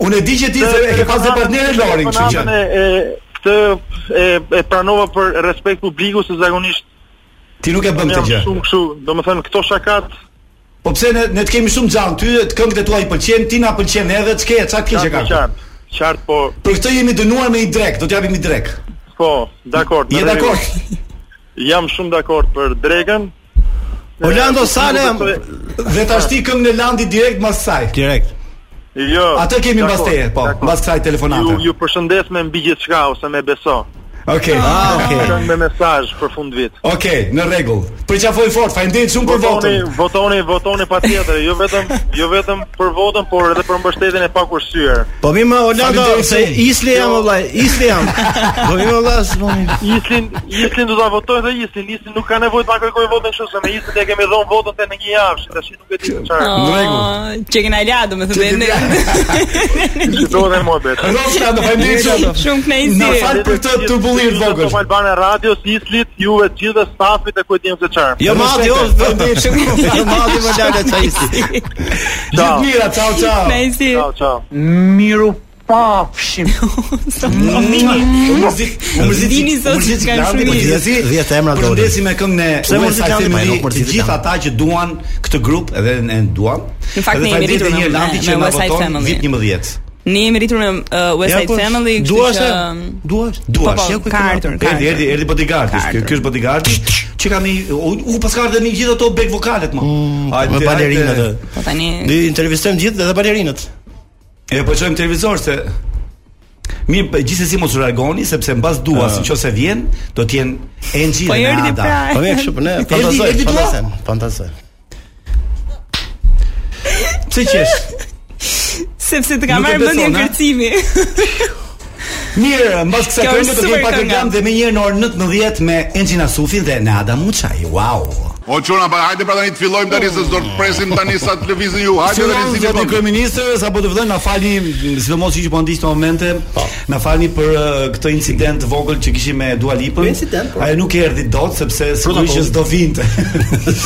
Speaker 7: Unë e di që ti se e ke pas dhe partnerin Lorin, kështu që.
Speaker 5: Telefonatën e- e- Këtë e, e pranova për respekt publiku se zakonisht
Speaker 7: Ti nuk e bën këtë
Speaker 5: jam
Speaker 7: gjë.
Speaker 5: Shumë kështu, domethënë këto shakat
Speaker 7: Po pse ne ne të kemi shumë xhan ty, të këngët e tua i pëlqejnë, ti na pëlqen edhe çka ke, çka ke që ka.
Speaker 5: Qartë, qartë po.
Speaker 7: Për këtë jemi dënuar me i drek, do t'japim i drek.
Speaker 5: Po, dakord.
Speaker 7: Je
Speaker 5: në rregull.
Speaker 7: dakord?
Speaker 5: Jam shumë dakord për Drekën.
Speaker 7: Orlando
Speaker 5: Eh,
Speaker 7: Sale
Speaker 5: nuk besoj-
Speaker 7: dhe tash ti këngën e Landit direkt mbas saj.
Speaker 2: Direkt.
Speaker 5: Jo.
Speaker 7: Atë kemi mbas
Speaker 5: dakord,
Speaker 7: teje, po,
Speaker 5: dakord.
Speaker 7: mbas kësaj telefonate.
Speaker 5: Ju ju përshëndes me mbi gjithçka ose me beso.
Speaker 7: Okej.
Speaker 5: Ah, Shkon me mesazh për fund vit.
Speaker 7: Okej, në rregull. Për qafoj fort, faleminderit shumë për
Speaker 5: Votoni,
Speaker 7: votën.
Speaker 5: votoni, votoni patjetër, jo vetëm jo vetëm për votën, por edhe për mbështetjen e pakursyer.
Speaker 2: Po mi më Orlando
Speaker 5: Faleminderit
Speaker 2: se
Speaker 5: shumë.
Speaker 2: isli jam
Speaker 5: Jo.
Speaker 2: vëllai, isli jam. Po mi më vëllai, s'po mi.
Speaker 5: Islin, Islin do ta votoj dhe Islin, Islin nuk ka nevojë ta kërkoj votën kështu se me Islin e kemi dhënë votën te në një javë, tash nuk e di çfarë.
Speaker 7: Oh.
Speaker 10: Çe Ah, kena la, domethënë ne.
Speaker 5: Shqiptore më betë.
Speaker 7: Rofta, do faleminderit shumë.
Speaker 10: Shumë kënaqësi.
Speaker 7: Na fal për këtë turbullir vogël.
Speaker 5: Top Albana Radio, Islit, juve të gjithë dhe stafit e kujtim se çfarë.
Speaker 2: Jo mati, jo,
Speaker 7: Faleminderit shumë.
Speaker 2: jo mati më lale çaj isli.
Speaker 7: Gjithë mira, ciao ciao.
Speaker 10: Kënaqësi.
Speaker 5: Ciao, ciao.
Speaker 7: Miru pafshim. Mërzit, mërzit.
Speaker 10: Dini sot që kanë shumë
Speaker 2: Po,
Speaker 10: mirë.
Speaker 2: 10 emra dolën.
Speaker 7: Përshëndesim me këngën e
Speaker 2: Pse
Speaker 7: Uwe
Speaker 2: mërzit janë,
Speaker 7: Sakthemi,
Speaker 2: ma, nuk mërzit
Speaker 7: Të gjithë
Speaker 2: janë.
Speaker 7: ata që duan këtë grup edhe ne duam.
Speaker 10: Në fakt, ne jemi rritur
Speaker 7: një
Speaker 10: me-
Speaker 7: landi
Speaker 10: me
Speaker 7: që na
Speaker 10: West Side
Speaker 7: voton
Speaker 10: Family.
Speaker 7: VIP 11.
Speaker 10: Ne jemi rritur në uh, West Side
Speaker 2: po,
Speaker 10: Family, kështu
Speaker 2: duash,
Speaker 10: që
Speaker 2: e? duash,
Speaker 7: Duash,
Speaker 10: Po, po,
Speaker 2: ja ku e
Speaker 10: ka
Speaker 2: kemi
Speaker 10: ardhur, ka
Speaker 7: Erdi, erdi, erdi bodyguard. Ky ky është bodyguard. Që kam i u, u pas ka ardhur me gjithë ato back vokalet më.
Speaker 2: Me balerinat. e.
Speaker 10: Po tani
Speaker 2: Do i intervistojmë gjithë edhe balerinat.
Speaker 7: E po çojmë televizor se Mirë, për gjithsesi mos u largoni sepse mbas dua, siçose vjen, do të jenë Enxhi
Speaker 10: Po
Speaker 7: dhe
Speaker 10: erdi
Speaker 7: Nada.
Speaker 10: pra.
Speaker 2: Po më kështu po ne
Speaker 7: Erdi,
Speaker 2: fantazoj,
Speaker 7: erdi dua?
Speaker 2: fantazoj, fantazoj.
Speaker 7: Pse qesh?
Speaker 10: sepse të ka
Speaker 7: Nuk e
Speaker 10: marrë
Speaker 7: beson,
Speaker 10: mendjen
Speaker 7: a?
Speaker 10: kërcimi.
Speaker 7: Mirë, mbas kësaj
Speaker 10: Kjo
Speaker 7: këngë
Speaker 10: është
Speaker 7: do të
Speaker 10: super
Speaker 7: kemi pak
Speaker 10: kënga.
Speaker 7: program dhe më njëherë në orën 19 me Enxhin Asufin dhe Nada Muçaj. Wow.
Speaker 9: O çuna, pa hajde pra tani të fillojmë tani se s'do të presim tani sa të lëvizin ju. Hajde
Speaker 7: Hajde
Speaker 9: tani
Speaker 7: të
Speaker 9: si
Speaker 7: zgjat kryeministrës apo po të vëllai na falni, sidomos që po ndiq në momente,
Speaker 2: Po.
Speaker 7: na falni për eh, këtë incident të vogël që kishim me Dua Lipën.
Speaker 2: Incident, po.
Speaker 7: Ajo nuk erdhi dot sepse sigurisht
Speaker 2: Protokolli.
Speaker 7: që s'do vinte.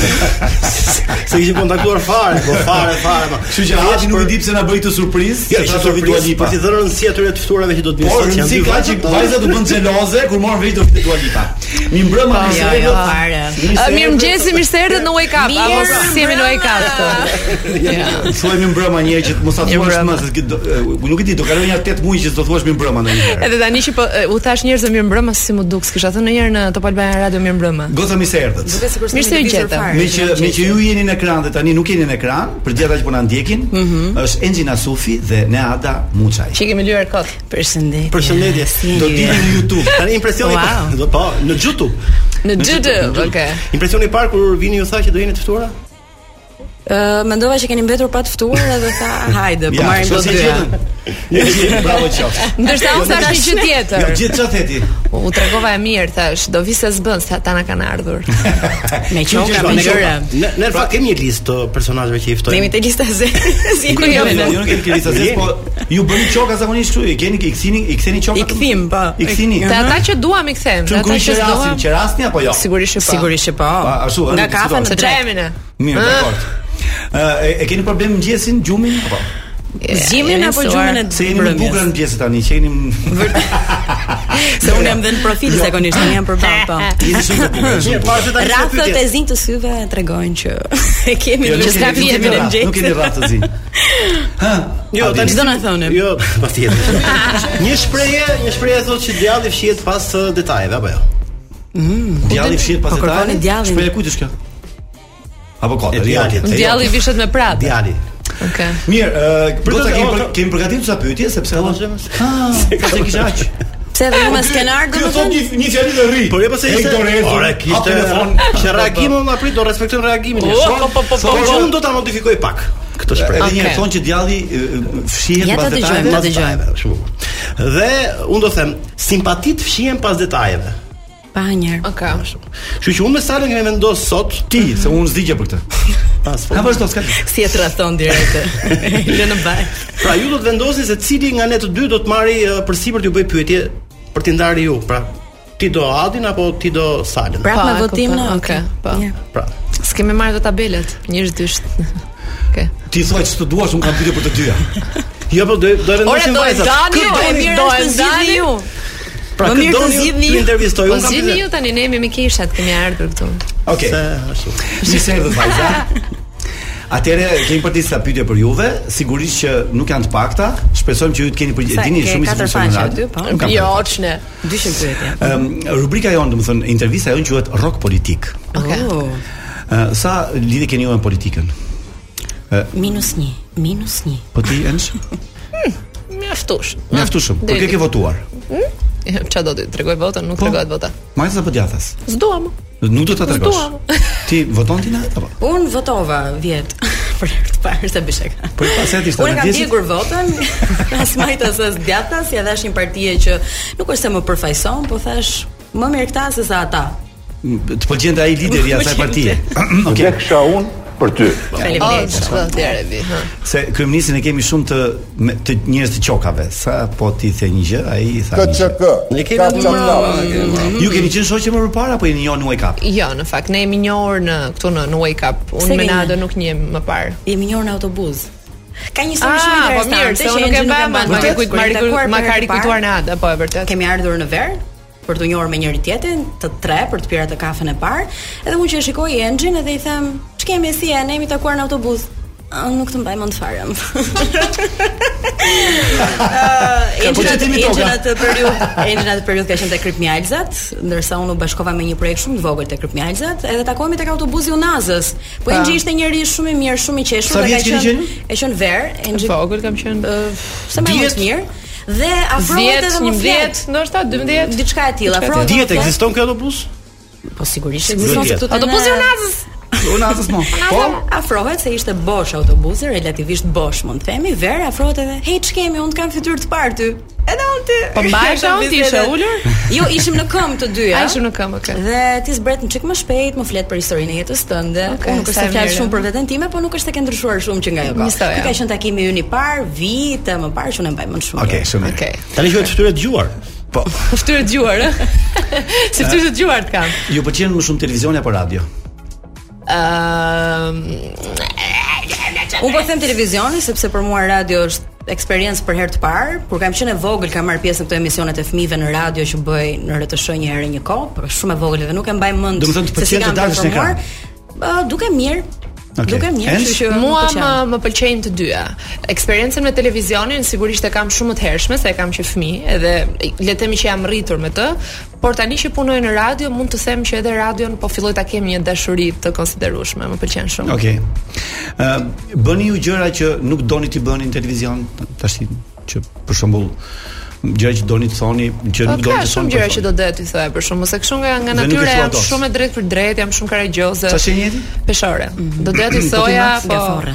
Speaker 2: Se kishim kontaktuar fare, po fare, fare. po.
Speaker 7: Kështu që hapi nuk i di pse na bëri këtë surprizë.
Speaker 2: Ja,
Speaker 7: se
Speaker 2: ishte
Speaker 7: tha Dua
Speaker 2: surprizë,
Speaker 7: Lipa.
Speaker 2: për t'i dhënë rëndësi atyre të ftuarave që do të vinë
Speaker 7: Por
Speaker 2: sot, janë
Speaker 7: rëndësi
Speaker 2: dy
Speaker 7: ka që
Speaker 2: vajzat,
Speaker 7: vajza do bën xeloze kur morën vetë do fitë Dua Lipa. Mi mbrëma
Speaker 14: Jo,
Speaker 7: nisë
Speaker 14: jo,
Speaker 7: rregull.
Speaker 14: fare. Ë,
Speaker 7: Nisë
Speaker 14: Mirë
Speaker 7: rregull.
Speaker 14: mëngjesi, mirë se erdhët në Wake Up. Apo
Speaker 7: Mirë
Speaker 14: si jemi në Wake Up
Speaker 7: Ja. Thuaj mi mbrëma një herë që të mos ta thuash më se do- e, nuk e di, do kalojnë ja 8 muaj që s'do thuash mi mbrëma ndonjëherë.
Speaker 14: Edhe tani që po e, u thash njerëzve mirë mbrëmë si më duk, s'kisha thënë ndonjëherë në Top Albana Radio mirë mbrëmë.
Speaker 7: Goca mi se erdhët.
Speaker 14: Duket sikur s'kemi Mirë se u lëvizur gjeta. fare,
Speaker 7: Me që
Speaker 14: mirë
Speaker 7: me që ju jeni në ekran dhe tani nuk jeni në ekran, për gjithë ata që po na ndjekin,
Speaker 15: Mhm.
Speaker 7: është Enxhi Nasufi dhe Neada Muçaj.
Speaker 14: Që i kemi lyer kot. Përshëndetje.
Speaker 2: Përshëndetje. Do të vini në YouTube. Tani impresioni i parë, do po, në YouTube.
Speaker 14: Në YouTube, okay.
Speaker 2: Impresioni i parë kur vini ju tha që do jeni të ftuara?
Speaker 15: Ë, Uh, mendova që keni mbetur pa të ftuar edhe tha, hajde, po
Speaker 2: Ja,
Speaker 15: marrim
Speaker 2: kështu
Speaker 15: botë
Speaker 2: si
Speaker 15: dyja.
Speaker 2: gjetën. Bravo qoftë.
Speaker 14: Ndërsa unë thash një gjë tjetër.
Speaker 7: Jo gjithë çfarë theti.
Speaker 14: Po, U tregova e mirë thash, do vi se s'bën, se ata na kanë ardhur.
Speaker 2: Me
Speaker 14: qoka, me gjëra.
Speaker 2: Në në fakt kemi një listë të personazheve që i ftojmë.
Speaker 14: Kemi te lista e zezë. Si
Speaker 7: Ju
Speaker 14: kujtojmë ne?
Speaker 7: jo, nuk keni kërisa se po ju bëni çoka zakonisht kështu, i keni i kthini, i ktheni çoka. I kthim, po. I kthini.
Speaker 14: Te ata që duam i kthem, te
Speaker 7: Që
Speaker 14: ata
Speaker 7: ngrihen
Speaker 14: që
Speaker 7: qerasin,
Speaker 14: duam.
Speaker 7: qerasni apo jo?
Speaker 14: Sigurisht që po.
Speaker 7: Sigurisht që po. Pa, ashtu, ëh,
Speaker 14: Nga
Speaker 7: si
Speaker 14: kafe
Speaker 7: do.
Speaker 14: në drejt. jemi ne?
Speaker 7: Mirë,
Speaker 14: Ah.
Speaker 7: dakor. Ë, e- e keni problem mëngjesin, gjumin apo?
Speaker 14: Zgjimin
Speaker 15: apo gjumin e
Speaker 7: Se jeni më
Speaker 15: mbrëmjes?
Speaker 7: bukur në pjesë tani, që jeni
Speaker 15: Se unë jam dhe në profil
Speaker 7: Jo.
Speaker 15: zakonisht, unë jam përban, po.
Speaker 7: Jeni shumë të bukur, shumë të bukur.
Speaker 15: Rrafët e zi të syve tregojnë që e kemi
Speaker 7: Jo,
Speaker 15: të
Speaker 7: nuk
Speaker 15: vështirë
Speaker 7: keni- nuk keni
Speaker 15: në
Speaker 7: rrafë,
Speaker 15: mëngjes.
Speaker 7: Nuk keni rrafë të zi.
Speaker 2: Jo,
Speaker 7: Adi.
Speaker 2: tani
Speaker 7: Çdo
Speaker 15: na thonim.
Speaker 2: Jo, patjetër. një shprehje, një shprehje thotë që djalli fshihet pas uh, detajeve apo jo?
Speaker 7: Djalli fshihet pas
Speaker 2: po kërkoni
Speaker 7: detajeve?
Speaker 2: djallin.
Speaker 7: Shpreh kujt është kjo? Apo kotë?
Speaker 2: djallit,
Speaker 7: jo.
Speaker 14: Djalli vishet me prap.
Speaker 2: Djali.
Speaker 14: Okej.
Speaker 7: Mirë, ë,
Speaker 2: Për
Speaker 7: goca
Speaker 2: të-
Speaker 7: kemi
Speaker 2: o,
Speaker 7: për- kemi përgatitur disa pyetje sepse Ah, se kisha aq.
Speaker 15: Pse dhe me skenar
Speaker 7: Kjo thot
Speaker 15: domethënë?
Speaker 7: një një fjalë të rri.
Speaker 2: Po le pse ishte.
Speaker 7: Hector Herzog,
Speaker 2: Ora
Speaker 7: hap
Speaker 2: kishte
Speaker 7: telefon.
Speaker 2: Që
Speaker 14: Po,
Speaker 2: reagimi unë aprit do respektojnë reagimin.
Speaker 7: O,
Speaker 2: Shon-
Speaker 7: po, po, po,
Speaker 2: shon-
Speaker 7: po.
Speaker 2: unë do ta modifikoj pak këtë shprehje.
Speaker 7: Edhe një herë thonë që djalli ë, ë, fshihet pas detajeve.
Speaker 2: pas detajeve, shumë bukur. Dhe unë do them, simpatit fshihen pas detajeve.
Speaker 15: Pa njërë.
Speaker 14: Okej.
Speaker 2: Kështu që unë me Salën kemi vendos sot
Speaker 7: ti, se unë s'digje për këtë.
Speaker 2: Pas
Speaker 7: Ka vazhdo s'ka.
Speaker 15: Si e tradhton direkt. Lë në baj.
Speaker 2: Pra ju do të vendosni se cili nga ne të dy do të marri uh, përsipër t'ju bëj pyetje për t'i ndarë ju. Pra ti do Adin apo ti do Salën?
Speaker 14: Po,
Speaker 15: me
Speaker 14: ako,
Speaker 15: votim,
Speaker 14: po,
Speaker 15: no,
Speaker 14: Okej, po.
Speaker 2: Pra.
Speaker 14: S'kemë marrë do tabelet, njësh dysht. Okej.
Speaker 7: Ti thua që të duash, unë kam pyetje për të dyja.
Speaker 2: Jo, po do do e
Speaker 14: Ora
Speaker 2: vendosim
Speaker 14: do e
Speaker 2: vajzat.
Speaker 14: ndani
Speaker 2: Kë
Speaker 14: ju, e
Speaker 2: doni-
Speaker 14: mirë
Speaker 2: do
Speaker 14: është të zgjidhni ju.
Speaker 2: Pra
Speaker 14: Më
Speaker 2: kë
Speaker 14: mirë të
Speaker 2: doni ju
Speaker 14: zgjidhni
Speaker 2: të
Speaker 14: ju.
Speaker 2: intervistoj
Speaker 14: Po
Speaker 2: unë kam
Speaker 14: zgjidhni
Speaker 2: pyetje.
Speaker 14: ju tani ne jemi me kishat, kemi ardhur këtu.
Speaker 7: Okej.
Speaker 2: Se ashtu.
Speaker 7: Si se erdhët vajza? Atëre kemi për disa pyetje për juve, sigurisht që nuk janë të pakta. Shpresojmë që ju të keni përgjigje.
Speaker 15: Sa,
Speaker 7: Dini
Speaker 15: ke
Speaker 7: shumë mirë se
Speaker 15: katër
Speaker 7: funksionon
Speaker 15: faqe,
Speaker 7: radio.
Speaker 15: dy, po?
Speaker 7: Nuk kam
Speaker 14: Jo,
Speaker 7: përgjigje.
Speaker 14: çne.
Speaker 15: 200 pyetje.
Speaker 7: Ëm rubrika jonë, domethënë intervista jonë quhet Rock Politik.
Speaker 14: Okej.
Speaker 7: Ë, sa lidhje keni ju me politikën?
Speaker 15: Minus 1, minus 1.
Speaker 7: Po ti Ensh?
Speaker 14: Mjaftush.
Speaker 7: Mjaftueshëm. Por ke ke votuar. Po.
Speaker 14: Ç'a do të tregoj votën, nuk tregohet vota.
Speaker 7: Majtas apo djathas?
Speaker 14: S'duam.
Speaker 7: Nuk do ta tregosh.
Speaker 14: S'duam.
Speaker 7: Ti voton ti na Po, apo?
Speaker 15: Unë votova vjet për herë të parë se bisheka.
Speaker 7: Po i paset ishte
Speaker 15: Unë e
Speaker 7: në
Speaker 15: kam
Speaker 7: djesit?
Speaker 15: djegur votën, as majtas as djatas, ja dash një partije që nuk është se më përfaqëson, po thash më mirë këta se sa ata.
Speaker 7: Të pëlqente ai lideri i asaj partie. Okej.
Speaker 9: Vdeksha unë për ty.
Speaker 7: Po,
Speaker 14: Faleminderit. Ç'do të jerevi, ha.
Speaker 7: Se kryeministin e kemi shumë të me, të njerëz të qokave. Sa po ti the një gjë, ai i tha. një gjë.
Speaker 9: KCK.
Speaker 2: Ne kemi
Speaker 9: Ka
Speaker 2: atë
Speaker 9: çam
Speaker 2: numër-
Speaker 7: Ju keni qenë shoqë më përpara apo jeni njohur në Wake Up?
Speaker 14: Jo, në fakt ne jemi njohur në këtu në, në Wake Up.
Speaker 15: Pse
Speaker 14: Unë me
Speaker 15: keni?
Speaker 14: Nado nuk njem më parë.
Speaker 15: Jemi njërë në autobuz. Ka një
Speaker 14: Ah,
Speaker 15: histori shumë
Speaker 14: po
Speaker 15: interesante.
Speaker 14: mirë, se
Speaker 15: që
Speaker 14: unë nuk e
Speaker 15: Angel
Speaker 14: mbaj mend, ma
Speaker 15: mbaruar,
Speaker 14: ke kujt- ma
Speaker 15: kur jemi
Speaker 14: ke
Speaker 15: takuar
Speaker 14: kujt- ma
Speaker 15: për
Speaker 14: ka
Speaker 15: herë të
Speaker 14: rikujtuar
Speaker 15: parë,
Speaker 14: në Ada, po e vërtet.
Speaker 15: Kemi ardhur në verë për të njohur me njëri tjetrin, të tre për të pirë atë kafen e parë, edhe unë që e shikoj Enxhin edhe i them, "Ç'kemi si e ne jemi takuar në autobus?" "Ah, Unë nuk të mbaj mend Uh, fare. Ëh,
Speaker 7: po që timi toka.
Speaker 15: Enxhin atë periudhë, Enxhin atë periudhë ka qenë te Krip Mjalzat, ndërsa unë u bashkova me një projekt shumë të vogël te Krip Mjalzat, edhe takohemi tek autobusi i Unazës. Po
Speaker 14: Pa.
Speaker 15: Enxhi ishte njëri shumë i mirë, shumë i qeshur
Speaker 7: Sa
Speaker 15: dhe ka
Speaker 7: vjeç keni
Speaker 15: qenë
Speaker 7: qenë?
Speaker 15: e qenë verë, Enxhi.
Speaker 14: Vogël kam qenë.
Speaker 15: Sa më vjen
Speaker 2: Dihet-
Speaker 15: mirë dhe afrohet
Speaker 14: 10,
Speaker 15: edhe më flet.
Speaker 14: 11, ndoshta 12.
Speaker 15: Diçka e tillë, afrohet.
Speaker 2: Dihet ekziston ky autobus?
Speaker 15: Po sigurisht ekziston
Speaker 2: ekziston, se
Speaker 15: se
Speaker 2: këtu
Speaker 15: këtu
Speaker 14: Autobusi i Unazës.
Speaker 7: Unë asës mo.
Speaker 15: Po, afrohet se ishte bosh autobusi, relativisht bosh mund të themi, ver afrohet edhe, "Hey, ç'kemi? Unë të kam fytyrë të parë ty." Edhe unë ty.
Speaker 5: Po mbajsha unë, ti ishe ulur?
Speaker 15: Jo, ishim në këmbë të dyja.
Speaker 5: A,
Speaker 14: Ah.
Speaker 5: ishim në këmbë, okay.
Speaker 15: Dhe ti zbret një çik më shpejt, më flet për historinë e jetës tënde.
Speaker 5: Okay,
Speaker 15: unë nuk
Speaker 5: sa
Speaker 15: është
Speaker 5: e
Speaker 15: të flas
Speaker 5: mirë.
Speaker 15: shumë për veten time, po nuk është të ke ndryshuar shumë që nga ajo kohë.
Speaker 5: Miso, ja.
Speaker 15: Ky ka qenë takimi ynë i parë, vite më parë që unë e mbaj më shumë.
Speaker 7: Okej, shumë mirë.
Speaker 2: Tani quhet fytyrë e dëgjuar.
Speaker 7: Po,
Speaker 5: Fytyrë të gjuar, ë? Si
Speaker 14: Ah.
Speaker 5: fytyrë të gjuar të kam.
Speaker 7: ju pëlqen më shumë televizioni apo radio?
Speaker 5: Ëm,
Speaker 15: Unë po them televizioni sepse për mua radio është eksperiencë për herë të parë. Kur kam qenë e vogël kam marr pjesë në këto emisionet e fëmijëve në radio që bëj në RTSH një herë një kohë, por shumë e vogël dhe nuk e mbaj mend.
Speaker 7: Do të thonë të
Speaker 15: se si
Speaker 7: pëlqen të
Speaker 15: kam
Speaker 7: dalësh në ekran.
Speaker 15: performuar. Ë, duke mirë.
Speaker 7: Okej.
Speaker 15: Duke mirë,
Speaker 7: Ends?
Speaker 15: kështu që po
Speaker 5: Mua
Speaker 15: më
Speaker 5: më,
Speaker 15: pëlqen.
Speaker 5: më pëlqejnë të dyja. Eksperiencën me televizionin sigurisht e kam shumë më të hershme se e kam që fëmijë, edhe le të themi që jam rritur me të, por tani që punoj në radio mund të them që edhe radion po filloj ta kem një dashuri të konsiderueshme, më pëlqen shumë.
Speaker 7: Okej. Ë bëni ju gjëra që nuk doni t'i bëni në televizion, tash që për shembull gjëra që doni të thoni, që
Speaker 5: Po
Speaker 7: nuk
Speaker 5: ka
Speaker 7: doni të
Speaker 5: shumë
Speaker 7: thoni.
Speaker 5: gjëra që do doja t'ju thoja për shkakun, se kështu nga nga
Speaker 7: Dhe nuk e
Speaker 5: natyra
Speaker 7: thua
Speaker 5: jam
Speaker 7: dot.
Speaker 5: shumë e drejtë për drejtë, jam shumë karagjoze.
Speaker 7: Çfarë jeti?
Speaker 5: Peshore. Do doja
Speaker 7: Po
Speaker 5: t'ju
Speaker 7: ti
Speaker 5: thoja
Speaker 15: max
Speaker 5: po.
Speaker 15: gafore.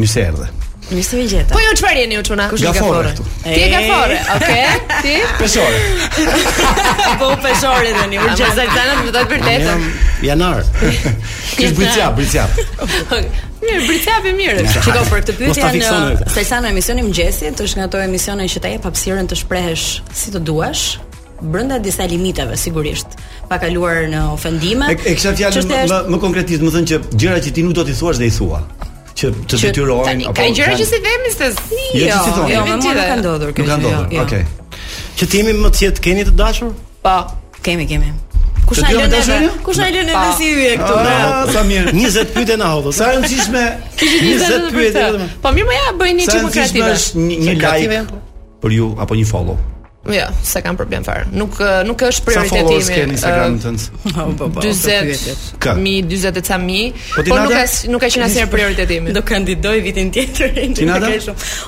Speaker 7: Mirë se erdhe.
Speaker 15: Mirë se më gjeta.
Speaker 5: Po ju çfarë jeni ju çuna?
Speaker 7: Kush është Gafore gafore? këtu.
Speaker 5: Ti je gafore, okay? Ti?
Speaker 7: Peshore.
Speaker 15: Po peshore tani,
Speaker 5: Ama Zaltana do të thotë vërtetë.
Speaker 2: Jam janar.
Speaker 7: Kish bricjap, bricjap.
Speaker 5: Mirë, britjapi mirë.
Speaker 15: Shiko për këtë
Speaker 2: Mos
Speaker 15: pyetje
Speaker 2: ta fiksoni
Speaker 15: janë
Speaker 2: këtë.
Speaker 15: Selsa në emisionin e mëngjesit, është nga ato emisione që ta jep hapësirën të shprehesh si të duash brenda disa limiteve sigurisht, pa kaluar në ofendime.
Speaker 7: E, e kisha fjalën
Speaker 15: Çështja
Speaker 7: më,
Speaker 15: është-
Speaker 7: më, më konkretisht, më thënë që gjëra që ti nuk do t'i thuash dhe i thua. Që të
Speaker 5: Që-
Speaker 7: detyrojnë
Speaker 5: tani,
Speaker 7: apo
Speaker 5: Ka gjëra që si vemi se
Speaker 7: Jo, që si thoni.
Speaker 15: Jo,
Speaker 5: me
Speaker 15: me mua
Speaker 5: gjitha.
Speaker 15: nuk ka ndodhur kjo.
Speaker 7: Nuk ka
Speaker 15: gjë,
Speaker 7: ndodhur.
Speaker 15: jo.
Speaker 7: Okej.
Speaker 2: Që të jemi më të qetë keni të dashur?
Speaker 5: Po.
Speaker 15: Kemi, kemi. Kush
Speaker 7: Të
Speaker 15: na
Speaker 7: dy
Speaker 15: lën
Speaker 7: janë
Speaker 15: neve?
Speaker 7: dashur?
Speaker 15: Kush na lën neve
Speaker 5: Pa.
Speaker 15: si hyje këtu?
Speaker 7: Ah, sa mirë.
Speaker 2: 20 pyetje na hodhët.
Speaker 7: Sa e rëndësishme.
Speaker 5: Njëzet
Speaker 2: 20 pyetje. vetëm.
Speaker 5: Po mirë, më ja bëjni
Speaker 7: Sa e
Speaker 5: çik më
Speaker 7: rëndësishme
Speaker 5: kreative.
Speaker 7: është një, një
Speaker 2: Kreative
Speaker 7: like
Speaker 2: janë, po.
Speaker 7: për ju apo një follow.
Speaker 5: Jo, s'e kam problem fare. Nuk ë, nuk është
Speaker 7: Sa
Speaker 5: prioriteti
Speaker 7: followers
Speaker 5: im.
Speaker 7: ke në Instagramin tënd?
Speaker 15: po,
Speaker 5: 40
Speaker 7: Ka.
Speaker 5: mi 40 e ca mi,
Speaker 7: Po
Speaker 5: po
Speaker 7: ti,
Speaker 5: nuk
Speaker 7: Nadia?
Speaker 5: ka nuk ka qenë asnjëherë prioriteti im.
Speaker 15: Do kandidoj vitin tjetër.
Speaker 7: Ti, Nada?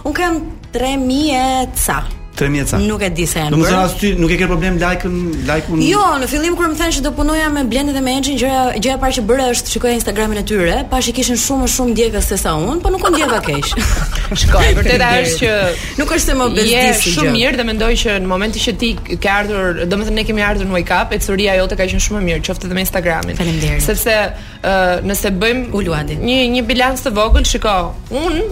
Speaker 15: Un kam 3000 e ca.
Speaker 7: 3000 ca.
Speaker 15: Nuk e di se janë.
Speaker 7: Domethënë
Speaker 15: bërë.
Speaker 7: as ty nuk e ke problem like-un, like-un.
Speaker 15: Jo, në fillim kur më thanë që do punoja me Blendi dhe me Enxhin, gjëja gjëja e parë që bëra është shikoja Instagramin e tyre, pashë kishin shumë më shumë ndjekës se sa unë, po nuk u ndjeva keq.
Speaker 5: Shkoj, vërteta është që
Speaker 15: Nuk është se më
Speaker 5: je
Speaker 15: bezdisi
Speaker 5: shumë mirë dhe mendoj që në momentin që ti ke ardhur, domethënë ne kemi ardhur në Wake Up, ecuria jote ka qenë shumë e mirë, qoftë edhe me Instagramin.
Speaker 15: Faleminderit.
Speaker 5: Sepse ë, nëse bëjmë
Speaker 15: U luadi.
Speaker 5: një një bilanc të vogël, shiko, un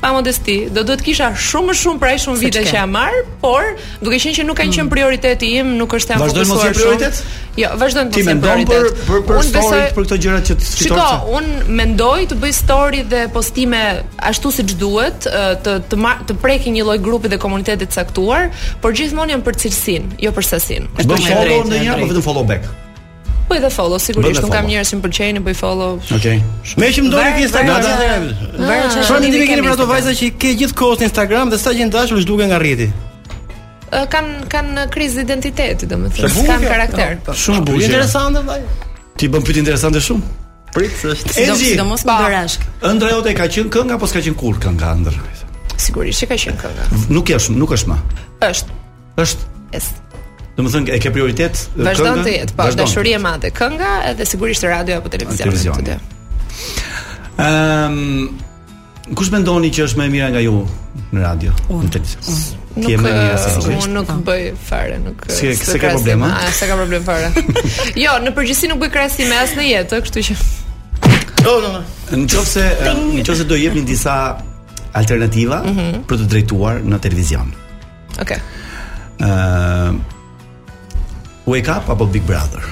Speaker 5: pa modesti, do duhet kisha shumë më shumë për ai shumë
Speaker 15: Se
Speaker 5: vite
Speaker 15: ç'ke.
Speaker 5: që jam marr, por duke qenë që nuk kanë qenë prioriteti im, nuk është se jam
Speaker 7: Vazhdojnë mos
Speaker 5: fokusuar
Speaker 7: jenë prioritet?
Speaker 5: shumë. Jo, vazhdojnë të
Speaker 7: Ti
Speaker 5: mos jenë
Speaker 7: mendon për
Speaker 5: prioritet.
Speaker 7: për për
Speaker 5: Unë
Speaker 7: story
Speaker 5: besoj-
Speaker 7: për këto gjëra që të
Speaker 5: Shiko,
Speaker 7: fitojnë.
Speaker 5: un mendoj të bëj story dhe postime ashtu siç duhet, ë, të të ma, të preki një lloj grupi dhe komuniteti të caktuar, por gjithmonë janë për cilësinë, jo për sasinë.
Speaker 7: Bën
Speaker 5: Është më e
Speaker 7: follow
Speaker 5: drejtë,
Speaker 7: ndonjë
Speaker 5: e
Speaker 7: apo
Speaker 5: drejtë.
Speaker 7: vetëm follow back?
Speaker 5: Po edhe follow, sigurisht,
Speaker 7: Bënë
Speaker 5: un kam
Speaker 7: follow.
Speaker 5: njerëz që më pëlqejnë, i bëj follow.
Speaker 7: Okej.
Speaker 2: Me që më doli
Speaker 15: Varet-
Speaker 2: ke Instagram.
Speaker 15: varet-
Speaker 2: Nada.
Speaker 15: Varet çfarë
Speaker 2: Çfarë ndimi
Speaker 15: mendimi
Speaker 2: keni
Speaker 15: kemi
Speaker 2: për ato
Speaker 15: Instagram?
Speaker 2: vajza që i ke gjithkohë në Instagram dhe sa që janë dashur është duke nga rrjeti?
Speaker 5: Ë, Kan kanë krizë identiteti, domethënë,
Speaker 2: bukur
Speaker 5: kanë
Speaker 2: kjo.
Speaker 5: karakter. po.
Speaker 7: Shumë bukur.
Speaker 2: Po, Interesante vllai.
Speaker 7: Ti bën pyetje interesante shumë.
Speaker 2: Prit se është.
Speaker 15: Do
Speaker 7: Enzi,
Speaker 15: sidomos me dorashk.
Speaker 7: ëndra jote ka qenë kënga apo s'ka qenë kur kënga ëndër?
Speaker 5: Sigurisht që ka qenë kënga.
Speaker 7: Nuk është, nuk është më.
Speaker 5: Është.
Speaker 7: Është,
Speaker 5: Yes.
Speaker 7: domethënë e ke prioritet e,
Speaker 5: Vazhdon
Speaker 7: kënga?
Speaker 5: të jetë, po,
Speaker 7: Vazhdon.
Speaker 5: dashuri e madhe, kënga edhe sigurisht radio apo televizion.
Speaker 7: Televizion.
Speaker 5: të dy.
Speaker 7: Ëm Ehm, kush mendoni që është më e mira nga ju në radio, në televizion? Ti je
Speaker 5: Nuk
Speaker 7: më e mira
Speaker 5: eh,
Speaker 7: se sigurisht.
Speaker 5: unë nuk bëj fare, nuk. eh,
Speaker 7: Si-
Speaker 5: s'ka
Speaker 7: se ka
Speaker 5: krahasim.
Speaker 7: problem, a?
Speaker 5: A, s'ka ka problem fare. jo, në përgjithësi nuk bëj krahasime as në jetë, kështu që
Speaker 2: Jo, no, no.
Speaker 7: Nëse eh, nëse do jepni disa alternativa
Speaker 15: Mhm.
Speaker 7: për të drejtuar në televizion.
Speaker 5: Okej.
Speaker 7: Ëm Wake Up apo Big Brother?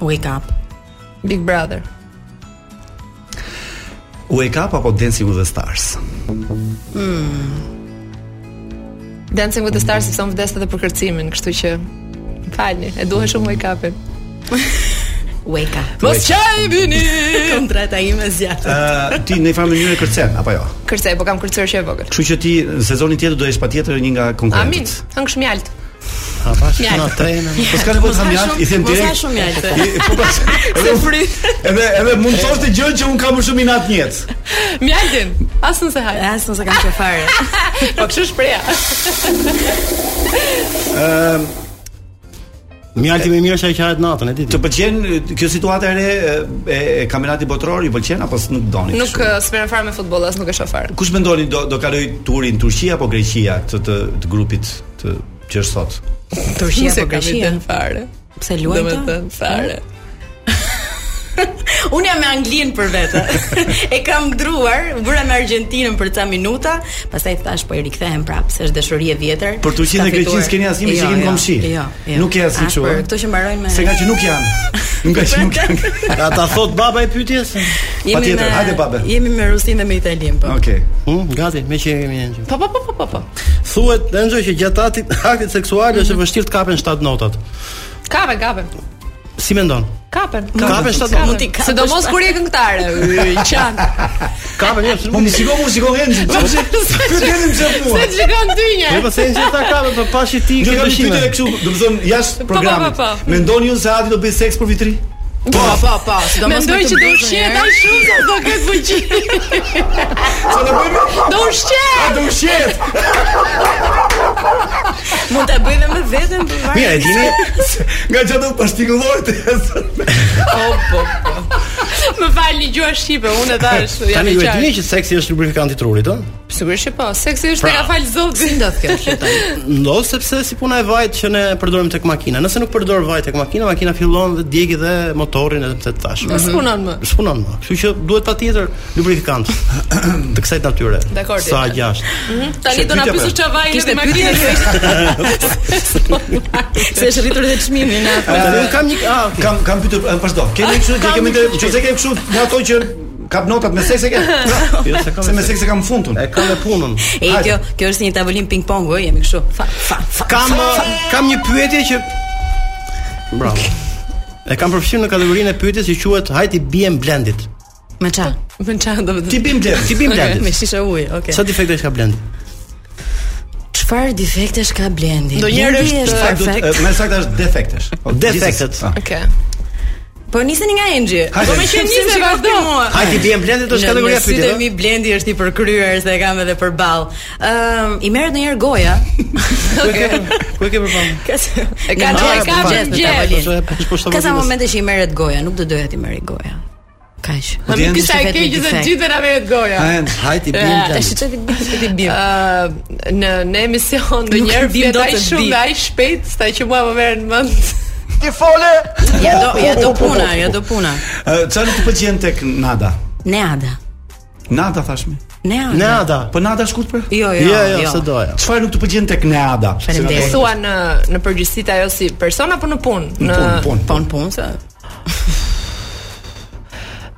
Speaker 15: Wake up.
Speaker 5: Big Brother.
Speaker 7: Wake Up apo Dancing with the Stars?
Speaker 5: Dancing with the Stars sepse unë vdes edhe për kërcimin, kështu që falni, e duhet shumë wake up-in.
Speaker 15: Wake up.
Speaker 5: Mos çaj vini.
Speaker 15: Kontrata ime zgjat.
Speaker 7: Ë Eh, ti në një farë mënyrë kërcen apo jo?
Speaker 5: Kërcej, po kam kërcyer që e vogël.
Speaker 7: Kështu që ti në sezonin tjetër do jesh patjetër një nga
Speaker 5: Amin,
Speaker 7: konkurrentët.
Speaker 5: hëngsh mjalt.
Speaker 2: A pash
Speaker 5: Mjaltë.
Speaker 2: na trena.
Speaker 7: Po s'ka nevojë të
Speaker 15: Mos ha
Speaker 7: tham jashtë,
Speaker 15: shumë-
Speaker 7: i them
Speaker 15: mos ha
Speaker 7: direkt.
Speaker 15: shumë mjaltë.
Speaker 7: I- Po pas. Se fryt. Edhe edhe mund të thoshte gjë që un kam më shumë inat në jetë.
Speaker 5: Mjaltin, as nëse haj.
Speaker 15: As nëse kam qenë fare. Mhm.
Speaker 5: Po kështu shpreha.
Speaker 2: Mjalti më mirë çaj qahet natën, e di.
Speaker 7: Të pëlqen eh, kjo situatë e re e, e kampionatit botror, ju pëlqen apo nuk doni?
Speaker 5: Nuk s'merr fare me futboll, as nuk e shoh fare.
Speaker 7: Kush mendoni do do kaloj turin Turqia apo Greqia të të, të grupit të që është sot?
Speaker 15: Turqia apo Greqia?
Speaker 5: fare.
Speaker 15: Pse luajnë?
Speaker 5: Domethënë fare.
Speaker 15: Unë jam me Anglin për vete. e kam ndruar, u bëra me Argjentinën për ca minuta, pastaj thash po i rikthehem prapë, se është dashuri e vjetër.
Speaker 7: Për Turqinë dhe Greqinë s'keni asnjë jo, që keni komshi.
Speaker 15: Jo, jo.
Speaker 7: Nuk e asnjë çu.
Speaker 15: Për këto që mbarojnë me
Speaker 7: Se nga që nuk janë. Nuk ka që nuk janë.
Speaker 2: Ata thot baba i pyetjes.
Speaker 7: Patjetër, hajde babe.
Speaker 15: Jemi me Rusin dhe me Italin po.
Speaker 7: Okej.
Speaker 2: Hm, gati, me që jemi ne.
Speaker 5: Po po po po po po.
Speaker 2: Thuhet Enzo që gjatë aktit, aktit seksual është e vështirë të kapen 7 notat.
Speaker 5: Kape, kape.
Speaker 2: Si mendon?
Speaker 5: Kapen.
Speaker 2: Kapen shtatë
Speaker 5: mund ti kapësh. Sidomos kur je këngëtare. Qan.
Speaker 2: Kapen jo, jep.
Speaker 7: Po më shiko, më shiko Enzi. Ky dënim se mua.
Speaker 5: Se shikon ty një.
Speaker 2: Po pse Enzi ta kapen, po pashi ti
Speaker 7: Jo kam pyetje kështu, domethënë jashtë programit. Mendoni ju se Adi do bëj seks për vitri?
Speaker 15: Po, po, po, sidomos
Speaker 5: Mendoj që do ushqej taj shumë sa do ketë fuqi.
Speaker 7: Sa do bëjmë?
Speaker 5: Do ushqej.
Speaker 7: Do ushqej.
Speaker 15: Mund ta bëj dhe me veten për varg.
Speaker 2: Mirë, e dini
Speaker 7: nga çfarë do pashtingullohet.
Speaker 5: oh, po. Më falni gjua shqipe, unë e thash.
Speaker 2: Tani ju e dini që seksi është lubrifikant i trurit, ë?
Speaker 5: Sigurisht që po, seksi është pra. ka fal zoti.
Speaker 15: Si ndodh kjo është tani?
Speaker 2: Ndodh sepse si puna e vajt që ne përdorim tek makina. Nëse nuk përdor vajt tek makina, makina fillon dhe djegi dhe motorin edhe pse tash.
Speaker 5: Nuk punon më.
Speaker 2: S'punon më. Kështu që duhet patjetër lubrifikant të kësaj natyre.
Speaker 5: Dakor.
Speaker 2: Sa gjashtë.
Speaker 5: Tani do na pyesësh çfarë vajin me makinën.
Speaker 15: Se është rritur edhe çmimi në atë.
Speaker 2: Unë kam një ah, okay.
Speaker 7: kam kam pyetur vazhdo. Keni kështu që kemi të, nëse kemi kështu nga ato që kap notat me seks e ke. Jo, se kam. Se me seks e kam fundun.
Speaker 2: E kam me punën.
Speaker 15: E kjo, kjo është një tavolinë ping pong, oj, jemi kështu. Fa, fa, fa.
Speaker 2: Kam kam një pyetje që Bravo. E kam përfshirë në kategorinë e pyetjes që quhet hajti biem blendit.
Speaker 15: Me ça?
Speaker 5: Me ça domethënë?
Speaker 2: Ti bim blendit, ti bim blendit.
Speaker 15: Me shisha uji, okay.
Speaker 2: Sa defektesh ka blendit?
Speaker 15: Çfarë defektesh ka Blendi?
Speaker 5: Donjëherë është
Speaker 7: perfekt. Më saktë është defektesh.
Speaker 2: Po, Defektet.
Speaker 5: Okej.
Speaker 15: Po niseni nga Engji.
Speaker 5: Po më qenë nisë vazhdo.
Speaker 2: Hajde bien Blendi do shkallë kategoria
Speaker 15: pyetje. Sytë mi Blendi është i përkryer se e kam edhe përball. Ëm i merret ndonjëherë goja.
Speaker 2: Ku e ke përball?
Speaker 15: Ka
Speaker 5: e ka e ka
Speaker 2: po
Speaker 15: gjë. Ka sa momente që i merret goja, nuk do doja ti merri goja. Kaq.
Speaker 5: Po ti pse ai keq që gjithë na merret goja.
Speaker 2: Hajti bim.
Speaker 15: Tash çfarë bim, çfarë bim.
Speaker 5: Ë në në emision ndonjëherë bim do të shumë ai shpejt, sa që mua më merren mend.
Speaker 7: Ti fole.
Speaker 15: Ja do ja do puna, ja do puna.
Speaker 7: Çfarë nuk të pëlqen tek Nada?
Speaker 15: Neada.
Speaker 7: Nada thashmi.
Speaker 15: Neada.
Speaker 2: Neada.
Speaker 7: Po Nada shkurt pra?
Speaker 15: Jo, jo, jo.
Speaker 2: Jo, se doja.
Speaker 7: Çfarë nuk të pëlqen tek Neada?
Speaker 15: Faleminderit.
Speaker 5: Thua në në përgjithësi ajo si person apo në punë?
Speaker 7: Në punë,
Speaker 15: punë, punë.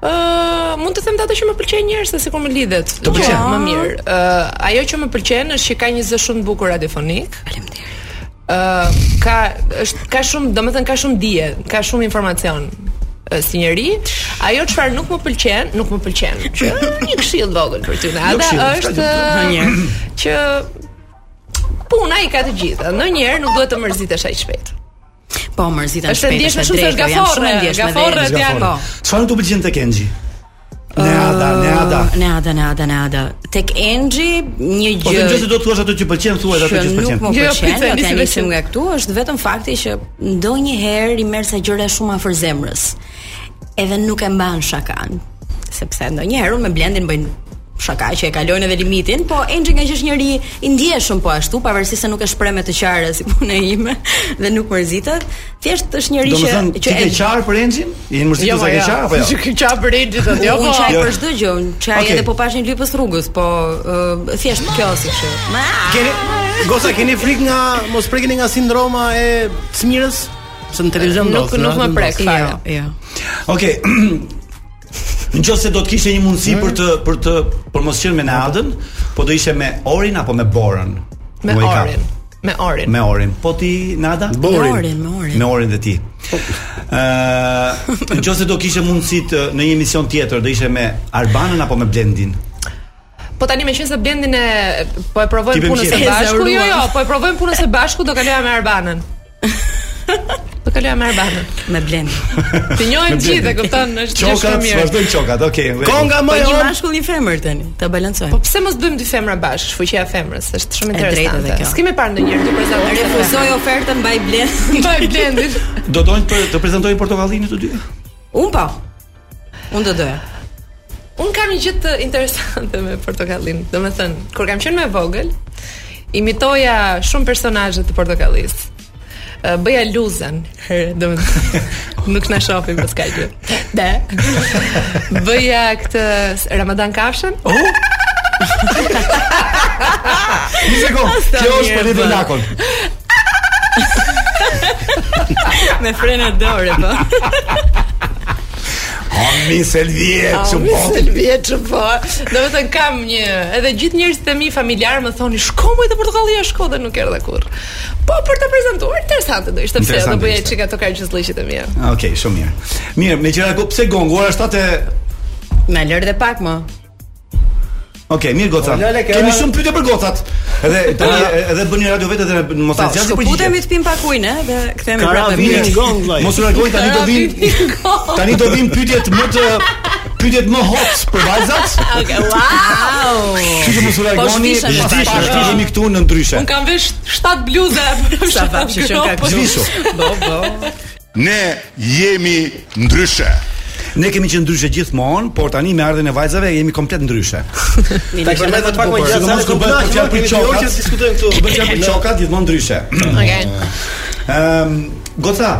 Speaker 5: Uh, mund të them ato që më pëlqejnë njerëz se sikur më lidhet.
Speaker 7: Të pëlqen
Speaker 5: më mirë. Uh, ajo që më pëlqen është që ka një zë shumë të bukur radiofonik.
Speaker 15: Faleminderit.
Speaker 5: Uh, ka është ka shumë, domethënë ka shumë dije, ka shumë informacion uh, si njeri. Ajo çfarë nuk më pëlqen, nuk më pëlqen. Që një këshill vogël për ty. Ata është uh, që puna i ka të gjitha. Ndonjëherë nuk duhet të mërzitesh aq shpejt.
Speaker 15: Po, mërziten
Speaker 5: shpejt. Është ndjeshme shumë se
Speaker 15: po,
Speaker 5: është gaforre, gaforre janë.
Speaker 7: Çfarë nuk të pëlqen tek Enxhi? Neada, neada.
Speaker 15: Neada, neada, neada. Tek Enxhi një gjë.
Speaker 7: Po nëse do të thuash ato që pëlqen, thua ato që s'pëlqen.
Speaker 15: jo. Nuk më pëlqen, jo tani nisim nga këtu, është vetëm fakti që ndonjëherë i merr sa gjëra shumë afër zemrës. Edhe nuk e mban shakan, sepse ndonjëherë me blendin bëjnë shaka që e kalojnë edhe limitin, po Enxhi nga që është njëri i ndjeshëm po ashtu, pavarësisht se nuk e shpreh me të qarë si puna ime dhe nuk mërzitet, thjesht është njëri që
Speaker 7: që ti ke qarë për Enxhin? Je mërzitur sa ke qarë apo jo?
Speaker 5: Që ke qarë për Enxhin atë jo.
Speaker 15: Unë çaj për çdo gjë, çaj edhe po pash një lypës rrugës, po thjesht kjo si kështu.
Speaker 2: Keni gosa keni frik nga mos prekeni nga sindroma e cmirës? Se në televizion
Speaker 5: do Nuk nuk më prek fare.
Speaker 15: Jo.
Speaker 7: Okej. Në qoftë se do të kishte një mundësi
Speaker 5: Hmm?
Speaker 7: për të për të për mos qenë me Nadën, po do ishe me Orin apo me Borën?
Speaker 5: Me Orin. Me Orin.
Speaker 7: Me Orin. Po ti Nada?
Speaker 15: Borin. Me Orin, me Orin.
Speaker 7: Me Orin dhe ti. Ëh, uh, në qoftë se do kishte mundësi të në një emision tjetër, do ishe me Arbanën apo me Blendin?
Speaker 5: Po tani me qenë se Blendin e po e provojmë punën së bashku. Jo, jo, po e provojmë punën së bashku, do kaloja me Arbanën. po kaloja me Arbanën.
Speaker 15: Me Blen.
Speaker 5: Të njohim gjithë, e kupton, është gjë shumë
Speaker 7: Qokat,
Speaker 5: mirë.
Speaker 7: vazhdojmë qokat, okay.
Speaker 2: Konga më
Speaker 15: Po një
Speaker 2: jon.
Speaker 15: mashkull një femër tani, ta balancojmë.
Speaker 5: Po pse mos bëjmë dy femra bashkë, fuqia e femrës, është shumë
Speaker 15: E drejtë dhe
Speaker 5: interesante.
Speaker 15: kjo.
Speaker 5: S'kemë parë ndonjëherë dy prezantuar.
Speaker 15: Refuzoj ofertën mbaj Blen.
Speaker 5: Bëj blendit.
Speaker 7: Do doin të të prezantojnë portokallin të dy?
Speaker 15: Un po. Un do doja.
Speaker 5: Un kam një gjë të interesante me portokallin. Domethënë, kur kam qenë më e vogël, imitoja shumë personazhe të portokallis. Ë, Bëja luzën, herë, domethënë nuk na shohin pas kaqë. De. Bëja këtë Ramadan kafshën.
Speaker 7: Oh, Një sekond. Kjo është për Lidin Lakon.
Speaker 15: Me frenë dore po.
Speaker 7: Ami Selvie,
Speaker 5: Au,
Speaker 7: çu
Speaker 5: mi
Speaker 7: po.
Speaker 5: Selvie që po. Do të thënë kam një, edhe gjithë njerëzit e mi familjar më thonin, "Shko më te portokallia, jo, shko" dhe nuk erdha kurrë. Po për ta prezantuar, interesante do ishte pse do
Speaker 7: Interesante
Speaker 5: bëja
Speaker 7: ishte.
Speaker 5: çika to kargjëslliqit e mia.
Speaker 7: Okej, shumë mirë. Mirë, me qira ku pse gong? Ora 7 e
Speaker 15: Na lër dhe pak më.
Speaker 7: Okej, mirë goca.
Speaker 2: O, lale, ke
Speaker 7: Kemi
Speaker 2: ra-
Speaker 7: shumë pyetje për gocat. Edhe tani edhe bëni radio vetë dhe ne mos
Speaker 15: Po,
Speaker 7: e zgjasni për
Speaker 15: shkëputemi të pim pak ujë, ne, dhe kthehemi
Speaker 2: Kara
Speaker 15: prapë.
Speaker 2: vini
Speaker 15: mirë.
Speaker 2: gong vllai.
Speaker 7: Mos u largoj tani do vin tani do vin pyetjet më të pyetjet më hot për vajzat.
Speaker 15: Okej, wow.
Speaker 7: Kështu që mos u largoni,
Speaker 15: shtishem,
Speaker 7: pas
Speaker 15: shtishem.
Speaker 7: pas jemi këtu në ndryshe.
Speaker 5: Un kam vesh 7 bluza.
Speaker 15: Sa vap që qenë ka kështu.
Speaker 7: Zvishu.
Speaker 15: Bo, bo.
Speaker 9: Ne jemi ndryshe.
Speaker 7: Ne kemi qenë ndryshe gjithmonë, por tani me ardhen e vajzave jemi komplet ndryshe.
Speaker 2: Ta kemi edhe pak më
Speaker 7: Po,
Speaker 2: gjatë.
Speaker 7: sidomos kur bëhet për fjalë për çokat,
Speaker 2: jo, diskutojmë këtu.
Speaker 7: Bën fjalë për çokat gjithmonë ndryshe.
Speaker 5: Okej.
Speaker 7: Ëm, goca,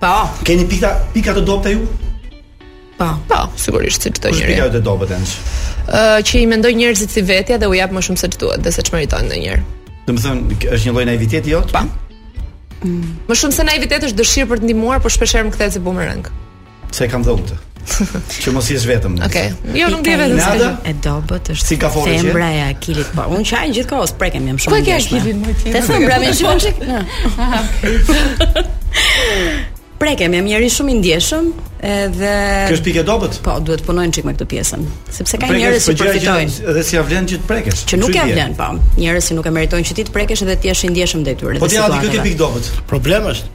Speaker 15: Po,
Speaker 7: keni pika pika të dobta ju?
Speaker 15: po.
Speaker 5: Po, sigurisht si çdo
Speaker 7: Kush
Speaker 5: gjëri.
Speaker 7: pika të dobët enç?
Speaker 5: Ë që i mendoj njerëzit si vetja dhe u jap më shumë se ç'duhet dhe se ç'meriton ndonjëherë.
Speaker 7: Domethënë është një lloj naiviteti jot?
Speaker 5: Pa. Më shumë se naivitet është dëshirë për të ndihmuar, por shpesh herë më kthehet si bumerang.
Speaker 7: Se e kam dhënë këtë. Që mos jesh vetëm.
Speaker 5: Okej. Jo, nuk di vetëm.
Speaker 7: Nada?
Speaker 5: s'ka gjë.
Speaker 15: E dobët është
Speaker 7: Si ka forë që?
Speaker 15: femra e Akilit. Po, unë qaj gjithkohë prekem jam shumë. pra
Speaker 5: Po e ke
Speaker 15: ndjeshme.
Speaker 5: Akilin, mo, ti.
Speaker 15: Te femra më shkon çik. Na. Prekem jam njëri shumë i ndjeshëm edhe
Speaker 7: Kjo është pikë e dobët?
Speaker 15: po duhet punojnë çik me këtë pjesën, sepse ka
Speaker 7: Prekes
Speaker 15: njerëz që
Speaker 7: për po gjëra që-
Speaker 15: përfitojnë
Speaker 7: Edhe si ja vlen që të prekesh.
Speaker 15: që nuk
Speaker 7: Çu i
Speaker 15: e
Speaker 7: bie?
Speaker 15: vlen, po. Njerëz që nuk e meritojnë që ti të prekesh edhe ti jesh i ndjeshëm ndaj tyre.
Speaker 7: Po
Speaker 15: dhe
Speaker 7: ti aty kë ke
Speaker 15: situatave.
Speaker 7: pikë dobët.
Speaker 2: Problem është.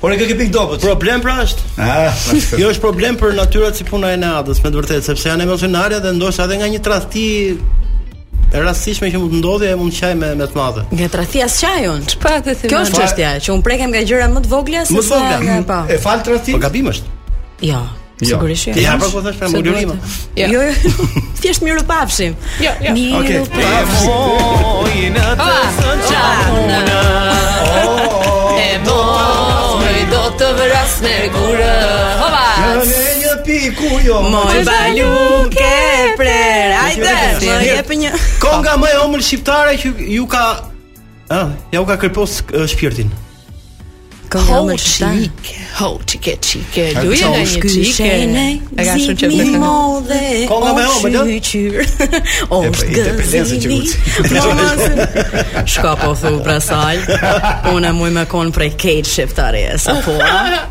Speaker 7: Por e kë ke pikë dobët.
Speaker 2: Problem pra është.
Speaker 7: Ah, vazhdo.
Speaker 2: Jo është problem për natyrat si puna e Nadës, me të vërtetë, sepse janë emocionale dhe ndoshta edhe nga një tradhti e rastishme që mund të ndodhi e mund të qaj me me të madhe.
Speaker 15: Nga tradhia s'qajun.
Speaker 5: Pa të thënë.
Speaker 15: Kjo është çështja, që un prekem nga gjëra më të vogla se
Speaker 2: Më të vogla.
Speaker 15: nga- po.
Speaker 7: E fal tradhti?
Speaker 2: Po gabim është.
Speaker 15: Jo, sigurisht jo.
Speaker 2: Ja, pra po thash pra më lurima.
Speaker 5: Jo.
Speaker 15: Jo, jo. thjesht miru pafshim.
Speaker 5: Jo, jo.
Speaker 15: Miru
Speaker 7: Okej.
Speaker 15: pafshim.
Speaker 5: E moj do të vras me gurë Hova
Speaker 7: Ja, ne një piku jo.
Speaker 15: Moj baluke prer. Hajde,
Speaker 7: Si
Speaker 15: më
Speaker 7: e
Speaker 15: jep një.
Speaker 2: Konga më e omël shqiptare që ju ka Ah, ja u ka kërpos eh, shpirtin.
Speaker 15: Kohë
Speaker 5: Ho
Speaker 15: më shtaj.
Speaker 5: qike, ho qike qike
Speaker 7: E,
Speaker 5: Luje
Speaker 7: qa
Speaker 5: nga
Speaker 7: është
Speaker 5: një
Speaker 15: ky
Speaker 5: qike
Speaker 15: shene,
Speaker 5: E ka shumë qëtë me
Speaker 15: zimi
Speaker 5: këngë
Speaker 15: modhe,
Speaker 2: Konga me
Speaker 15: o
Speaker 2: homa, do?
Speaker 15: shqyqyr, O
Speaker 7: E, po, i të pelezën që
Speaker 15: gëzimi
Speaker 7: guci.
Speaker 15: Mama Shka po thu prasal Unë e muj me konë prej kejtë shiftare Sa po a?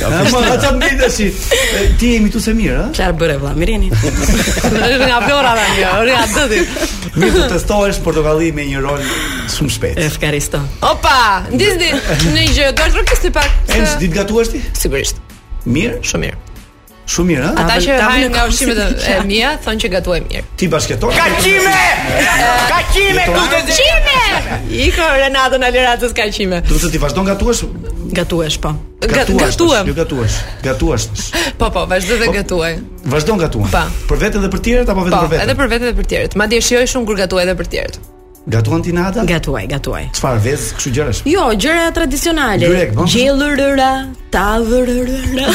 Speaker 7: Ja, po ata më tash. Ti je imituse mirë, ah? ha?
Speaker 15: Qarë bërë vla, mirini
Speaker 5: Është nga flora dhe nga, është nga dëdi
Speaker 7: Mirë të testohesh portokalli me një rol shumë shpejt.
Speaker 15: Efkaristo
Speaker 5: Opa, ndizni, në gjë, do është rëkës të pak se-
Speaker 7: Enç ditë gatuash ti?
Speaker 5: Sigurisht,
Speaker 7: Mirë,
Speaker 5: shumë mirë
Speaker 7: shumë mirë, ah? ha?
Speaker 5: Ata
Speaker 15: Tabel-
Speaker 5: që
Speaker 15: tabel
Speaker 5: hajnë
Speaker 15: e
Speaker 5: nga
Speaker 15: kam
Speaker 5: ushqimet
Speaker 15: si
Speaker 5: e- e mia,
Speaker 7: Po
Speaker 5: thonë që gatuaj mirë
Speaker 7: Ti bashketor. Kaqime! Kaqime ku të
Speaker 5: Qime! Iko Renato në liratës ka qime
Speaker 7: Do të ti vazhdon gatuash?
Speaker 15: Gatuesh po
Speaker 5: Ga-
Speaker 7: Gatuash.
Speaker 5: Gatuem
Speaker 7: Jo gatuash. Gatuash.
Speaker 5: Po, po, vazhdo dhe gatuaj
Speaker 7: Vazhdon gatuan.
Speaker 5: Pa.
Speaker 7: Për veten dhe për tjerët apo
Speaker 5: Po,
Speaker 7: vetëm për
Speaker 5: edhe
Speaker 7: veten?
Speaker 5: për vete dhe për tjerët Ma dje shioj shumë kur gatuaj edhe për tjerët
Speaker 7: Gatuan ti Nada?
Speaker 15: Gatuaj, gatuaj
Speaker 7: Çfarë vez, kështu gjërash?
Speaker 15: Jo, gjëra tradicionale
Speaker 7: Byrek, po?
Speaker 15: Gjellërëra, tavërërëra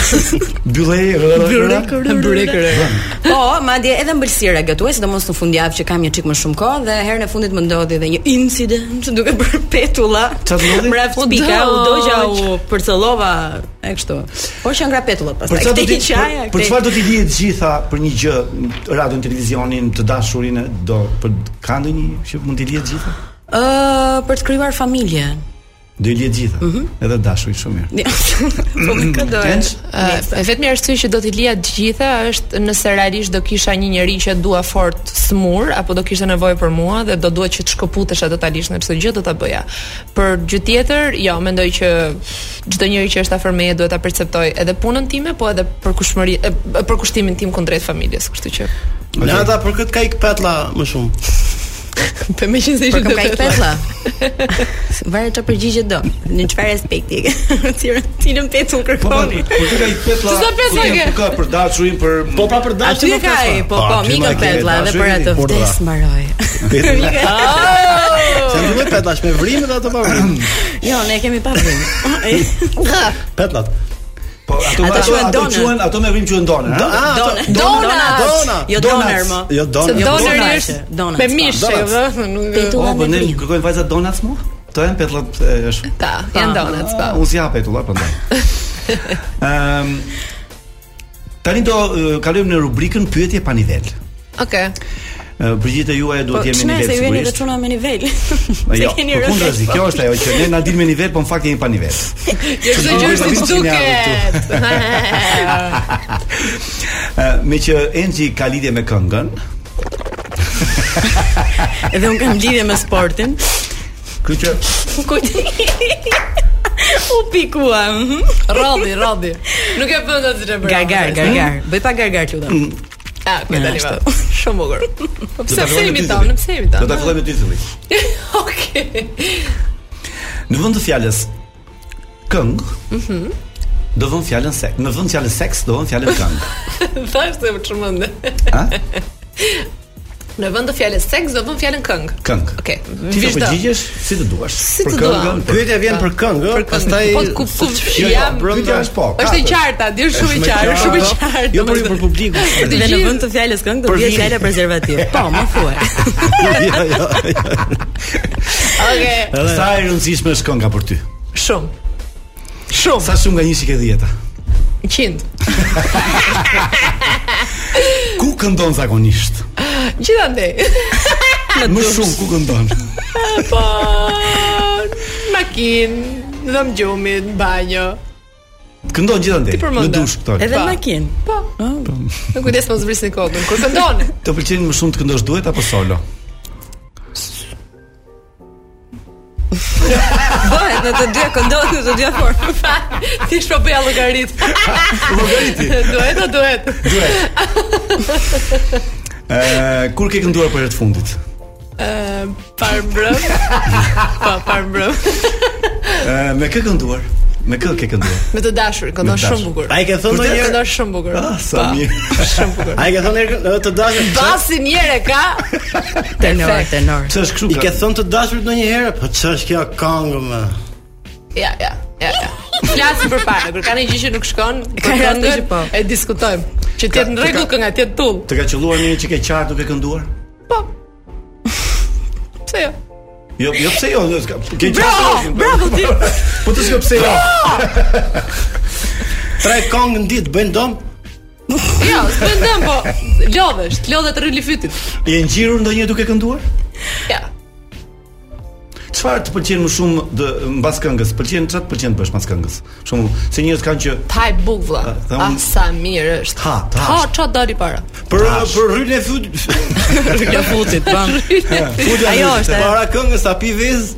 Speaker 7: Byllej, rrrrrrra.
Speaker 15: Byrek Po, madje edhe mbëlsira gatuaj, sidomos në fundjavë që kam një çik më shumë kohë dhe herën e fundit më ndodhi edhe një incident duke bërë petulla.
Speaker 7: Çfarë të ndodhi?
Speaker 15: Mbrapa
Speaker 5: U
Speaker 15: pika, u dogja,
Speaker 5: dogj.
Speaker 15: u përcëllova e kështu. Po që ngra petullat pastaj.
Speaker 7: Për çfarë do
Speaker 15: Kthej
Speaker 7: ti
Speaker 15: qaja,
Speaker 7: për
Speaker 15: kthej-
Speaker 7: çfarë do ti lihet gjitha për një gjë, radion, televizionin, të dashurin, do për ka ndonjë që mund t'i lihet gjitha?
Speaker 15: Ë, për të krijuar familje.
Speaker 7: Do i lje gjitha. Mm -hmm. Edhe dashurit shumë mirë. Po,
Speaker 5: Po më këndon. E vetmja arsye që do t'i lija të gjitha është nëse realisht do kisha një njerëz që dua fort smur apo do kishte nevojë për mua dhe do duhet që të shkëputesha totalisht në çdo gjë do ta bëja. Për gjë tjetër, jo, mendoj që çdo njeri që është afër meje duhet ta perceptoj edhe punën time, po edhe për kushmëri për kushtimin tim kundrejt familjes, kështu që.
Speaker 2: Okay. Nata për këtë ka ik petlla më shumë.
Speaker 5: Për me qenë se ishte
Speaker 15: ka Po i petlla. Varet çfarë përgjigje do, në çfarë aspekti. Cilën petë u kërkoni?
Speaker 7: Po ti ka i petlla.
Speaker 5: Çfarë petlla ke?
Speaker 7: Ka për dashurin pra, për
Speaker 2: Po pa për dashurin.
Speaker 15: Aty ka ai, po po, mika petlla edhe për atë vdes mbaroj.
Speaker 2: Sa më duhet petllash me vrim dhe ato pa vrim.
Speaker 15: Jo, ne kemi pa vrim.
Speaker 2: Petlat.
Speaker 7: Po ato ato quhen ato quhen ato me vrim quhen doner,
Speaker 15: ha? Doner. Doner.
Speaker 2: Dona.
Speaker 15: Jo doner më.
Speaker 2: Ah, Jo doner.
Speaker 5: Doner është
Speaker 15: doner.
Speaker 5: Me mish,
Speaker 15: vë,
Speaker 7: nuk. Po, po ne kërkojmë vajza donuts mu? To janë petllat është.
Speaker 5: Ta, janë donuts, po.
Speaker 7: Ah, Unë si hapej tulla prandaj. Ëm Tani do kalojmë në rubrikën pyetje pa nivel.
Speaker 5: Okej.
Speaker 7: Përgjigjet e juaja duhet të jemi në nivel
Speaker 15: sigurisht. Po, jeni vetë çuna me nivel.
Speaker 7: Jo, po kundrazi, kjo është ajo që ne na dimë me nivel, po në fakt jemi pa nivel.
Speaker 5: Jo çdo gjë është si duket.
Speaker 7: Eh, Me që Enxhi ka lidhje me këngën.
Speaker 15: Edhe un kam lidhje me sportin.
Speaker 7: Kjo që
Speaker 15: U pikua. mhm.
Speaker 5: Rrodhi, rrodhi. Nuk e bën atë çfarë bën.
Speaker 15: Gargar, gargar. Bëj pa gargar lutem.
Speaker 5: Ah, kjo tani va. Shumë bukur. Po pse pse jemi tonë, pse jemi tonë?
Speaker 7: Do ta fillojmë titullin.
Speaker 5: Okej.
Speaker 7: Në vend të fjalës këng, mhm, do vëm fjalën seks. Në vend fjalës seks do vëm fjalën këng.
Speaker 5: Thash se më çmend. Ha? Në vend të fjalës seks do vëm fjalën këng.
Speaker 7: Këng.
Speaker 5: Okej.
Speaker 7: Ti do përgjigjesh si të duash.
Speaker 5: Si të dua.
Speaker 2: Pyetja vjen për këngë, pastaj
Speaker 5: Po ku ku jam.
Speaker 7: Pyetja është po.
Speaker 5: Është e qartë, di është shumë e qartë, shumë e qartë.
Speaker 2: Jo për për publikun.
Speaker 15: Dhe në vend të fjalës këngë do vjen fjala prezervativ. Po, më thuaj.
Speaker 7: Jo, jo.
Speaker 5: Okej.
Speaker 7: Sa e rëndësishme është kënga për ty?
Speaker 5: Shumë. Shumë.
Speaker 7: Sa shumë nga 1 ke 10?
Speaker 5: 100.
Speaker 7: Ku këndon zakonisht?
Speaker 5: Gjithandej.
Speaker 7: Më shumë ku këndon.
Speaker 5: Po. Makin, në dhëm gjumit, në banjo.
Speaker 7: Këndon gjithandej.
Speaker 5: përmenda.
Speaker 7: Në dush këto.
Speaker 15: Edhe në makin.
Speaker 5: Po. Në kujdes mos vrisni kokën. Kur këndon?
Speaker 7: Të pëlqen më shumë të këndosh duhet apo solo?
Speaker 15: Bëhet në Po, të dyja këndot në të dyja formë.
Speaker 5: Ti shpo bëja llogarit.
Speaker 7: Llogariti.
Speaker 5: Duhet o duhet?
Speaker 7: Duhet. Ë, kur ke kënduar për herë të fundit?
Speaker 5: Ë, par mbrëm. Po, par mbrëm.
Speaker 7: Ë, me kë kënduar? Me kë ke kënduar?
Speaker 5: Me të dashur, këndon
Speaker 7: Me të
Speaker 5: shumë
Speaker 7: dashur.
Speaker 5: bukur.
Speaker 2: Ai ke thënë
Speaker 5: Vërtet
Speaker 2: ndonjëherë-
Speaker 5: këndon shumë bukur.
Speaker 7: Ah, sa
Speaker 5: Po,
Speaker 7: mirë.
Speaker 5: Shumë bukur.
Speaker 2: Ai ke thënë herë të dashur
Speaker 5: Basi një herë ka.
Speaker 15: Tenor,
Speaker 5: Perfekt.
Speaker 15: tenor.
Speaker 7: Ç'është kështu?
Speaker 2: I ke thënë të dashurit ndonjëherë, po ç'është kjo këngë më?
Speaker 5: Ja, ja, ja, ja. Flasim për para, kur ka një gjë që nuk shkon,
Speaker 15: Ka
Speaker 5: për
Speaker 15: raste
Speaker 5: këngën,
Speaker 15: që po.
Speaker 5: E diskutojmë. Që të jetë në
Speaker 7: Ka-
Speaker 5: rregull
Speaker 7: ka-
Speaker 5: kënga, të jetë tull.
Speaker 7: Të ka qelluar një që ke qartë duke kënduar?
Speaker 5: Po. Pse jo?
Speaker 7: Jo, jo pse jo, jo, s'ka. Ke
Speaker 5: Bravo, bravo ti.
Speaker 7: Po të s'ka pse jo.
Speaker 2: Tre këngë në ditë bëjnë dom?
Speaker 5: Jo, s'pëndem po. Lodhesh, lodhet rrëli fytit.
Speaker 7: Je ngjirur ndonjë duke kënduar?
Speaker 5: Ja.
Speaker 7: Çfarë të pëlqen më shumë dë, mbas këngës? Pëlqen çfarë të pëlqen të bësh mbas këngës? Për shembull, se njerëz kanë që
Speaker 5: Taj buk vlla.
Speaker 7: Tha
Speaker 5: Ah,
Speaker 7: unë-
Speaker 5: sa mirë është.
Speaker 7: Ha, ta
Speaker 5: Ha,
Speaker 7: është.
Speaker 5: ç'a dali para.
Speaker 2: Për për rryn e fyt.
Speaker 15: Kjo futit, po.
Speaker 2: Futja
Speaker 15: Ajo
Speaker 2: e fyt.
Speaker 15: është, e.
Speaker 2: Para këngës ta pi vez.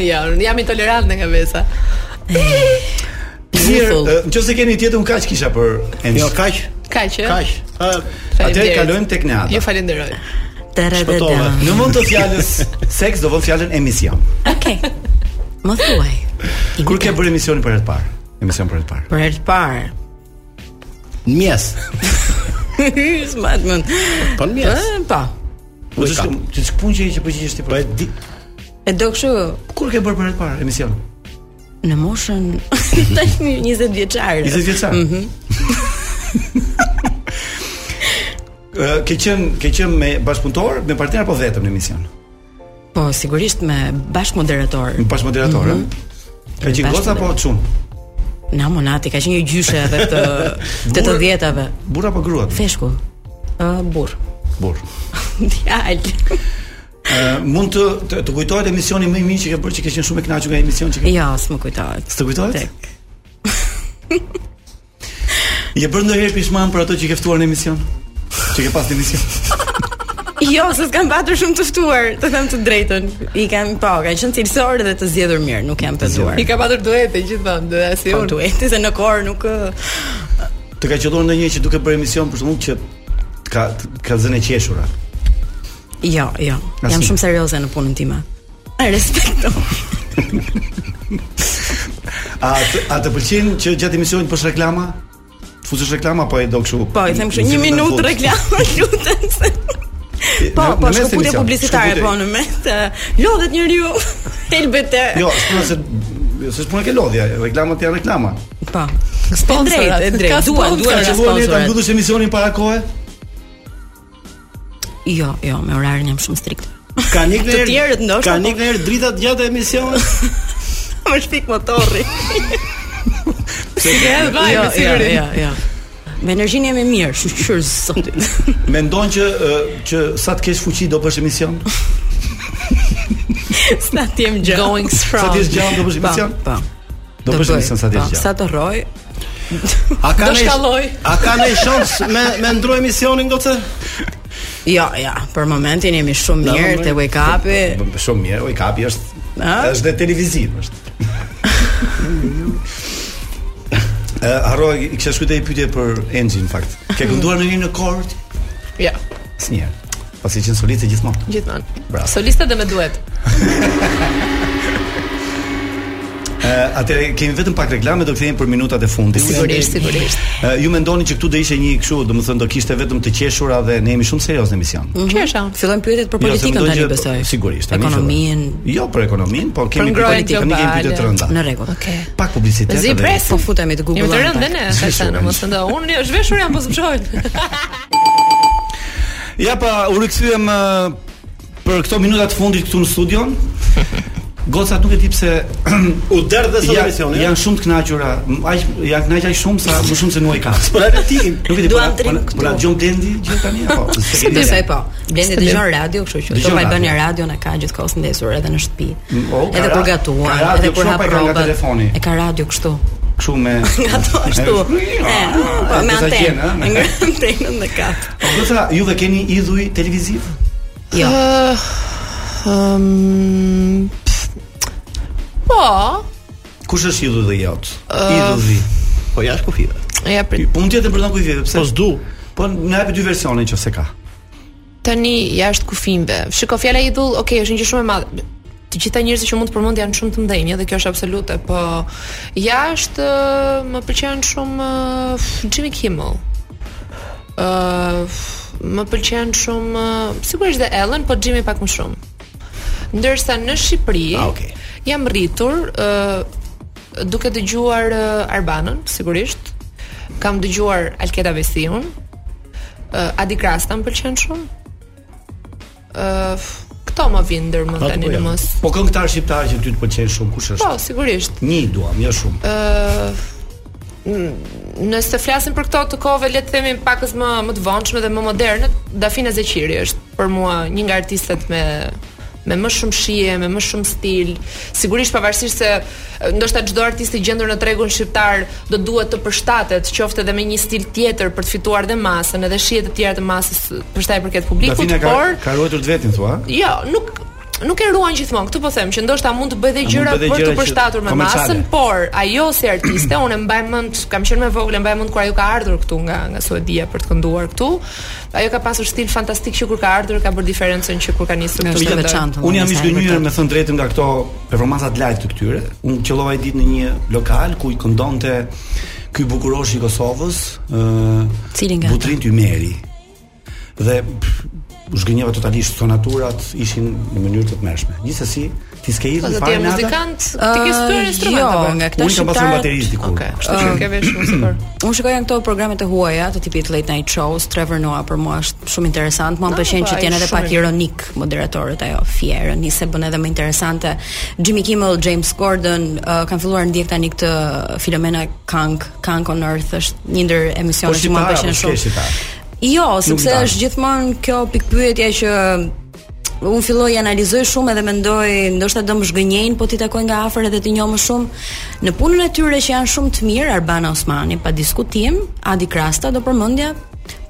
Speaker 5: Ja, unë jam intolerante nga vesa.
Speaker 7: Mirë, ë, nëse keni tjetër un kaq kisha për Enxhi.
Speaker 2: Jo, kaq,
Speaker 5: Kaq që?
Speaker 2: kaq. Ë,
Speaker 7: Atëherë kalojmë tek Neada. Po,
Speaker 5: Ju falenderoj.
Speaker 15: Tere dhe
Speaker 2: Shpëtove.
Speaker 15: dam.
Speaker 7: Në mund të fjalës seks do vë fjalën emision.
Speaker 15: Okej. Më thuaj.
Speaker 7: Kur ke bërë emisionin për herë të parë? Emision për herë të parë.
Speaker 15: Për herë të parë.
Speaker 2: mjes.
Speaker 15: Smatmën.
Speaker 2: Po në mjes.
Speaker 15: Po.
Speaker 7: Po
Speaker 2: Ujka.
Speaker 7: ç'është ti ç'pun që i që përgjigjesh ti
Speaker 2: Po e
Speaker 7: për?
Speaker 2: di.
Speaker 15: E do kështu
Speaker 7: Kur ke bërë për herë të parë emision?
Speaker 15: në moshën tashmë 20 vjeçare.
Speaker 7: 20 vjeçar. Mhm. ke qen ke qen me bashkëpunëtor, me partner apo vetëm në emision?
Speaker 15: Po sigurisht me bashkëmoderator.
Speaker 7: Me bashkëmoderator, ëh. Ka qenë goca apo çum?
Speaker 15: Na monati ka qenë një gjyshe edhe të të të
Speaker 7: Burr.
Speaker 15: dhjetave.
Speaker 7: Burr apo grua?
Speaker 15: Feshku. Ë burr.
Speaker 7: Burr.
Speaker 15: Djalë.
Speaker 7: Ë, mund të të, të kujtohet emisioni më i mirë që ke bërë që ke qenë shumë e kënaqur nga emisioni që ke.
Speaker 15: Jo, s'më kujtohet.
Speaker 7: S'të kujtohet? Tek. Je bërë ndonjëherë pishman për ato që ke ftuar në emision? Që ke pas në emision?
Speaker 15: Jo, se s'kam patur shumë të ftuar, të them të drejtën. I kam po, kanë qenë cilësorë dhe të zgjedhur mirë, nuk jam pezuar.
Speaker 5: I ka patur duete gjithmonë, do si
Speaker 15: unë. Po duete se në kohë nuk
Speaker 7: Të ka qelluar ndonjë që duke bërë emision për shkak që ka ka zënë qeshura.
Speaker 15: Jo, jo. Asim. Jam shumë serioze në punën time. Respekto.
Speaker 7: a të, a të pëlqen që gjatë emisionit bësh reklama? Fuzesh reklama apo e do kështu?
Speaker 15: Po, i them kështu 1 minutë reklama, lutem se. Po, në, po, shkëputje publicitare, po, në mes. Lodhet njeriu. Helbete.
Speaker 7: Jo, s'puna se jo, s'është puna ke lodhja, reklamat janë reklama.
Speaker 15: Po. Sponsorat, e drejtë. Duan, duan
Speaker 7: që sponsorat. Ta mbyllësh emisionin para kohë?
Speaker 15: Jo, jo, me orarin jam shumë strikt.
Speaker 2: Ka nik në
Speaker 15: të tjerët ndoshta. po.
Speaker 2: Ka nik në herë dritat gjatë emisionit.
Speaker 15: Më shpik motorri.
Speaker 5: Se ke vaj,
Speaker 15: jo, jo, jo, jo. Me energjinë jam e mirë, shqyrë sot.
Speaker 7: Mendon që që sa të kesh fuqi do bësh emision?
Speaker 15: sa të jem gjallë.
Speaker 5: Going
Speaker 15: Pra.
Speaker 5: strong.
Speaker 7: Sa të jesh gjallë do bësh emision?
Speaker 15: Po.
Speaker 7: Do bësh emision sa të jesh gjallë.
Speaker 15: Sa të rroj.
Speaker 2: A ka ne A ka ne shans me me ndroj emisionin gocë?
Speaker 15: Jo, ja, për momentin jemi shumë mirë te Wake Up-i.
Speaker 7: Shumë mirë, Wake Up-i është është dhe televiziv është. Ë, Eh, harroj, i kisha shkruajtë një pyetje për Enxhin në fakt. Ke
Speaker 15: Mhm.
Speaker 7: kënduar ndonjë në kort?
Speaker 5: Ja.
Speaker 7: Asnjëherë. Pasi qenë soliste gjithmonë.
Speaker 5: Gjithmonë. Bravo. Soliste dhe me duet.
Speaker 7: Ë, Eh, atëre kemi vetëm pak reklame, do kthehemi për minutat e fundit.
Speaker 5: Sigurisht, sigurisht.
Speaker 7: Ë, ju mendoni që këtu do ishte një kështu, domethënë do kishte vetëm të qeshura dhe ne jemi shumë serioz në emision.
Speaker 15: Mm -hmm. Fillojnë pyetjet
Speaker 7: Jo,
Speaker 15: për politikën tani besoj.
Speaker 7: Sigurisht,
Speaker 15: tani. Ekonominë.
Speaker 7: Jo për ekonominë, por kemi
Speaker 5: politikën,
Speaker 7: ne kemi pyetje të rënda.
Speaker 15: Në rregull.
Speaker 5: Okej.
Speaker 7: Pak publicitet.
Speaker 5: Zi pres,
Speaker 15: po futemi të Google.
Speaker 5: Jemi të rëndë ne, tashmë, mos ndo. Unë zhveshur jam po zbshoj.
Speaker 7: Ja pa, u rikthyem për këto minuta të fundit këtu në studion. Gocat nuk e di pse
Speaker 2: u der dhe sot emisioni.
Speaker 7: Janë shumë të kënaqura, aq janë kënaqur shumë sa më shumë se nuaj ka.
Speaker 2: Po na tikim.
Speaker 7: Nuk e di. Duam trim. Po na dëgjon Blendi gjithë tani apo?
Speaker 15: Se besoj po. Blendi dëgjon radio, kështu që Top Albania Radio na ka gjithkohës ndesur edhe në shtëpi.
Speaker 7: Oh,
Speaker 15: Edhe kur gatuan, edhe kur hap rrobat. E ka radio kështu.
Speaker 7: Kështu me Eh, ah,
Speaker 15: ato ashtu. Eh, Po me antenë, me antenën në kap.
Speaker 7: Goca, juve keni idhuj televiziv?
Speaker 15: Jo.
Speaker 5: Eh, Ëm ehm, Po. Eh,
Speaker 7: Kush është idhulli jot? Uh, idhulli.
Speaker 2: Po jashtë kufive.
Speaker 5: Ja prit.
Speaker 7: Po mund të jetë bërdan kufive, pse?
Speaker 2: Po s'du.
Speaker 7: Po na jep dy versione nëse ka.
Speaker 5: Tani jashtë kufimve. Shiko fjala idhull, okay, është një gjë shumë e madhe. Të gjitha njerëzit që mund të përmend janë shumë të ndenjë dhe kjo është absolute, po jashtë eh, më pëlqen shumë uh, Jimmy Kimmel. Ë uh, më pëlqen shumë uh, sigurisht dhe Ellen, po Jimmy pak më shumë. Ndërsa në Shqipëri,
Speaker 7: ah, okay
Speaker 5: jam rritur uh, duke dëgjuar uh, Arbanën, sigurisht. Kam dëgjuar Alketa Vesiun. Uh, Adi Krasta më pëlqen shumë. Uh, këto më vijnë ndërmend tani në mos.
Speaker 7: Po këngëtar shqiptar që ty të pëlqejnë shumë, kush është?
Speaker 5: Po, sigurisht.
Speaker 7: Një duam, jo shumë.
Speaker 5: Ë uh, Nëse flasim për këto të kohëve, le të themi pakës më më të vonshme dhe më moderne, Dafina Zeqiri është për mua një nga artistet me me më shumë shije, me më shumë stil. Sigurisht pavarësisht se ndoshta çdo artist i gjendur në tregun shqiptar do duhet të përshtatet, qoftë edhe me një stil tjetër për të fituar dhe masën, edhe shije të tjera të masës për sa i përket publikut,
Speaker 7: Dafina ka,
Speaker 5: por
Speaker 7: ka ruajtur vetën thua?
Speaker 5: Jo, nuk nuk e ruan gjithmonë. Këtë po them që ndoshta mund të bëj dhe gjëra për të përshtatur me masën, po- por ajo si artiste unë mbaj mend, kam qenë më vogël, mbaj mend kur ajo ka ardhur këtu nga nga Suedia për të kënduar këtu. Ajo ka pasur stil fantastik që kur ka ardhur ka bërë diferencën që kur ka nisur
Speaker 15: këtu. veçantë.
Speaker 7: Unë jam i zgënjur me thënë drejtën nga këto performancat live të këtyre. Unë qellova një ditë në një lokal ku i këndonte ky bukurosh i Kosovës, ë Butrin Tymeri. Dhe u zgënjeva totalisht sonaturat ishin në mënyrë të tmerrshme. Gjithsesi, ti s'ke
Speaker 5: idhën fare nada. Po muzikant, ti ke studiuar instrumente po.
Speaker 15: jo,
Speaker 5: apo
Speaker 15: nga këta
Speaker 7: shqiptarë? Unë kam pasur baterist dikur.
Speaker 5: Okej, kështu që ke vesh shumë sikur.
Speaker 15: Unë shikoj janë këto programet e huaja të tipit late night shows, Trevor Noah për mua është shumë interesant. Mua më pëlqen që janë edhe pak ironik moderatorët ajo, fjerë, nisi bën edhe më interesante. Jimmy Kimmel, James Corden uh, kanë filluar ndjek tani këtë Filomena Kank, Kank on Earth është një ndër
Speaker 7: Po,
Speaker 15: emisionet që Po, mua më pëlqen shumë. Jo, sepse është gjithmonë kjo pikpyetja që un filloj analizoj shumë edhe mendoj ndoshta do më zhgënjejnë, po ti takoj nga afër edhe ti njoh më shumë në punën e tyre që janë shumë të mirë Arbana Osmani, pa diskutim, Adi Krasta do përmendja,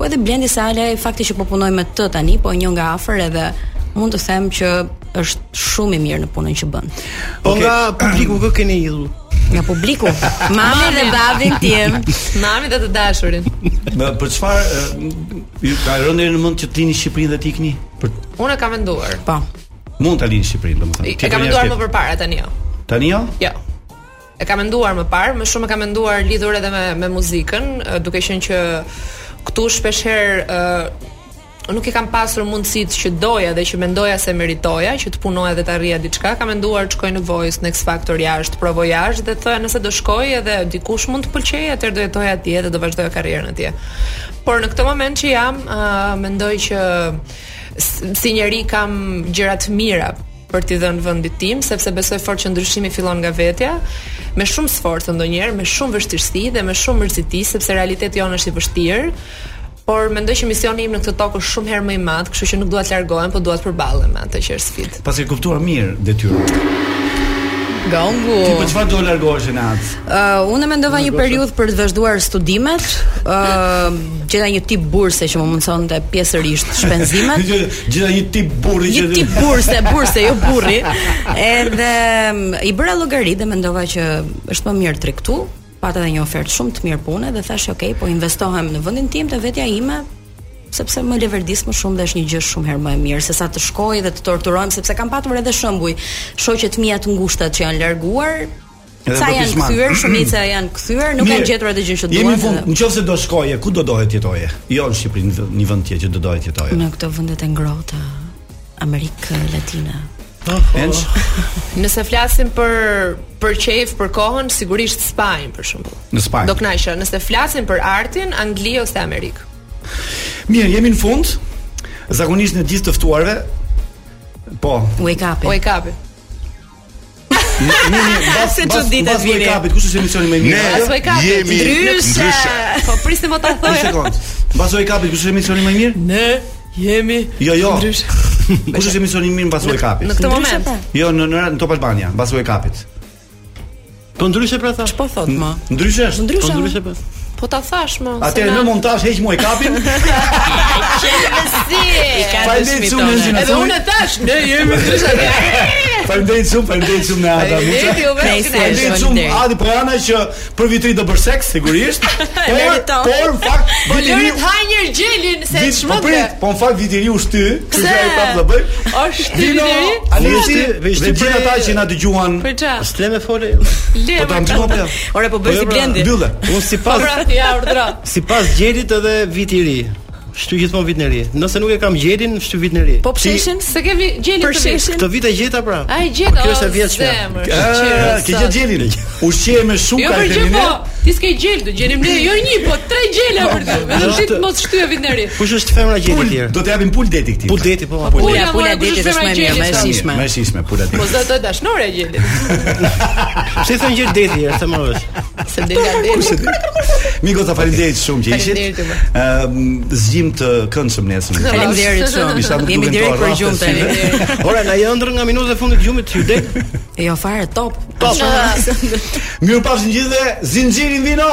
Speaker 15: po edhe Blendi Sale, fakti që po punoj me të tani, po e njoh nga afër edhe mund të them që është shumë i mirë në punën që bën.
Speaker 2: Po okay. nga publiku kë keni idhull?
Speaker 15: Nga publiku, mami dhe babin tim,
Speaker 5: mami dhe të dashurin.
Speaker 7: Në për çfarë ju ka rënë në mend që të lini Shqipërinë dhe të ikni? Për
Speaker 5: Unë e kam menduar.
Speaker 15: Po.
Speaker 7: Mund ta lini Shqipërinë, domethënë.
Speaker 5: E kam menduar më përpara tani jo.
Speaker 7: Tani jo?
Speaker 5: Jo. E kam menduar më parë, më shumë e kam menduar lidhur edhe me me muzikën, duke qenë që këtu shpesh herë nuk i kam pasur mundësitë që doja dhe që mendoja se meritoja që të punoja dhe të arrija diçka. Kam menduar të shkoj në Voice, në X Factor jashtë, provoj jashtë dhe thoya nëse do shkoj edhe dikush mund të pëlqejë, atëherë do jetoja atje dhe do vazhdoja karrierën atje. Por në këtë moment që jam, uh, mendoj që si njeri kam gjëra të mira për t'i dhënë vendit tim, sepse besoj fort që ndryshimi fillon nga vetja, me shumë sforcë ndonjëherë, me shumë vështirësi dhe me shumë mërziti, sepse realiteti jonë është i vështirë por mendoj që misioni im në këtë tokë është shumë herë më i madh, kështu që nuk dua të largohem, por dua të përballem me atë që është sfidë.
Speaker 7: Pasi e kuptuar mirë detyrën.
Speaker 15: Gongu.
Speaker 7: Ti për çfarë do largohesh në atë?
Speaker 15: Uh, unë mendova një periudhë për të vazhduar studimet, ë uh, gjeta një tip burse që më mundësonte pjesërisht shpenzimet.
Speaker 7: gjeta një tip burri
Speaker 15: që një tip burse, burse jo burri. Edhe mm, i bëra llogari dhe mendova që është më mirë tre këtu, pata edhe një ofertë shumë të mirë pune dhe thash, "Ok, po investohem në vendin tim te vetja ime." sepse më leverdis më shumë dhe është një gjë shumë herë më e mirë se sa të shkoj dhe të torturohem sepse kam patur edhe shembuj shoqet mia të ngushta që janë larguar sa janë kthyer, shumica janë kthyer, nuk kanë gjetur atë gjë që duan.
Speaker 7: Jemi në fund, nëse do shkoje, ku do dohet jetoje? Jo në Shqipëri, në një vend tjetër që do dohet jetoje.
Speaker 15: Në këto vendet e ngrohta, Amerikë Latina.
Speaker 7: Enç.
Speaker 5: Po. Nëse flasim për për qejf, për kohën, sigurisht Spanjë për shembull.
Speaker 7: Në Spanjë.
Speaker 5: Do kënaqesha. Nëse flasim për artin, Angli ose Amerikë.
Speaker 7: Mirë, jemi në fund. Zakonisht në gjithë të ftuarve po.
Speaker 15: Wake up.
Speaker 5: Wake up.
Speaker 7: Ne
Speaker 15: se çuditë
Speaker 7: të vini. Wake up, kush është emisioni më i mirë?
Speaker 5: Ne wake up. Ndryshe. Po prisni më ta thojë.
Speaker 7: Një sekond. Mbas wake up, kush është emisioni më i mirë?
Speaker 5: Ne jemi.
Speaker 7: Jo, jo. Ndryshe. Kush është emisioni i mirë mbas Wake Up-it?
Speaker 5: Në këtë moment.
Speaker 7: Jo, në në, në Top Albania, mbas Wake Up-it.
Speaker 2: Po ndryshe pra tha.
Speaker 15: Ç'po thot më?
Speaker 7: Ndryshe është.
Speaker 15: Ndryshe.
Speaker 2: Po ndryshe po.
Speaker 5: Po ta thash më.
Speaker 7: Atëherë në montazh heq Wake Up-in.
Speaker 5: Çfarë si?
Speaker 7: Faleminderit shumë Enxhina.
Speaker 5: Edhe unë thash, ne jemi ndryshe.
Speaker 7: Faleminderit shumë, faleminderit shumë në Ada. Faleminderit shumë Adi Pojana që për vitri do bësh seks sigurisht. Por por në fakt
Speaker 5: Valerit ha një gjelin se çmend.
Speaker 7: Po prit, po në fakt vitiri u shty, kështu që ai prapë do bëj.
Speaker 15: Po,
Speaker 5: Është vitiri.
Speaker 7: Ani shty, vetë gjithë ata që na dëgjuan.
Speaker 5: Ah.
Speaker 2: S'le me fole.
Speaker 7: Po ta ndihmë.
Speaker 15: Ore po
Speaker 7: pra,
Speaker 15: bëj si blendi.
Speaker 7: Bylle.
Speaker 2: Unë sipas
Speaker 5: Pra, ja urdhra.
Speaker 2: Sipas gjelit edhe viti i ri. Shtu gjithmonë vitin e ri. Nëse nuk e kam gjelin, shtu vitin e ri.
Speaker 15: Po psheshin?
Speaker 5: Se ke gjelin
Speaker 15: për sheshin.
Speaker 2: Këtë vit e gjeta pra.
Speaker 5: Ai gjeta.
Speaker 2: Kjo është e vjetshme.
Speaker 7: Ke gjetë gjelin. Ushqej me shumë
Speaker 5: ka
Speaker 7: të
Speaker 5: Po, ti s'ke gjel, do gjelim ne jo një, po tre gjela për ty. Vetëm ti të mos shtyë vitin e ri.
Speaker 2: Kush është femra gjeli tjetër?
Speaker 7: Do të japim pul deti këtij.
Speaker 2: Pul deti po.
Speaker 15: Pula, pula deti është më mirë, më e shishme.
Speaker 7: Më e shishme pula deti.
Speaker 5: Mos do të dashnore gjelit.
Speaker 2: Pse thon gjel deti, është më vesh.
Speaker 5: Se del nga deti.
Speaker 7: Miko, ta faleminderit shumë që ishit. Ëm zgjim të këndshëm nesër.
Speaker 15: Faleminderit shumë. Jemi direkt për gjumë tani.
Speaker 2: Ora na jëndër nga minutat e fundit gjumit ju del.
Speaker 15: Jo fare top.
Speaker 2: Top.
Speaker 7: Mirupafshim gjithëve. Zinxhirin vino.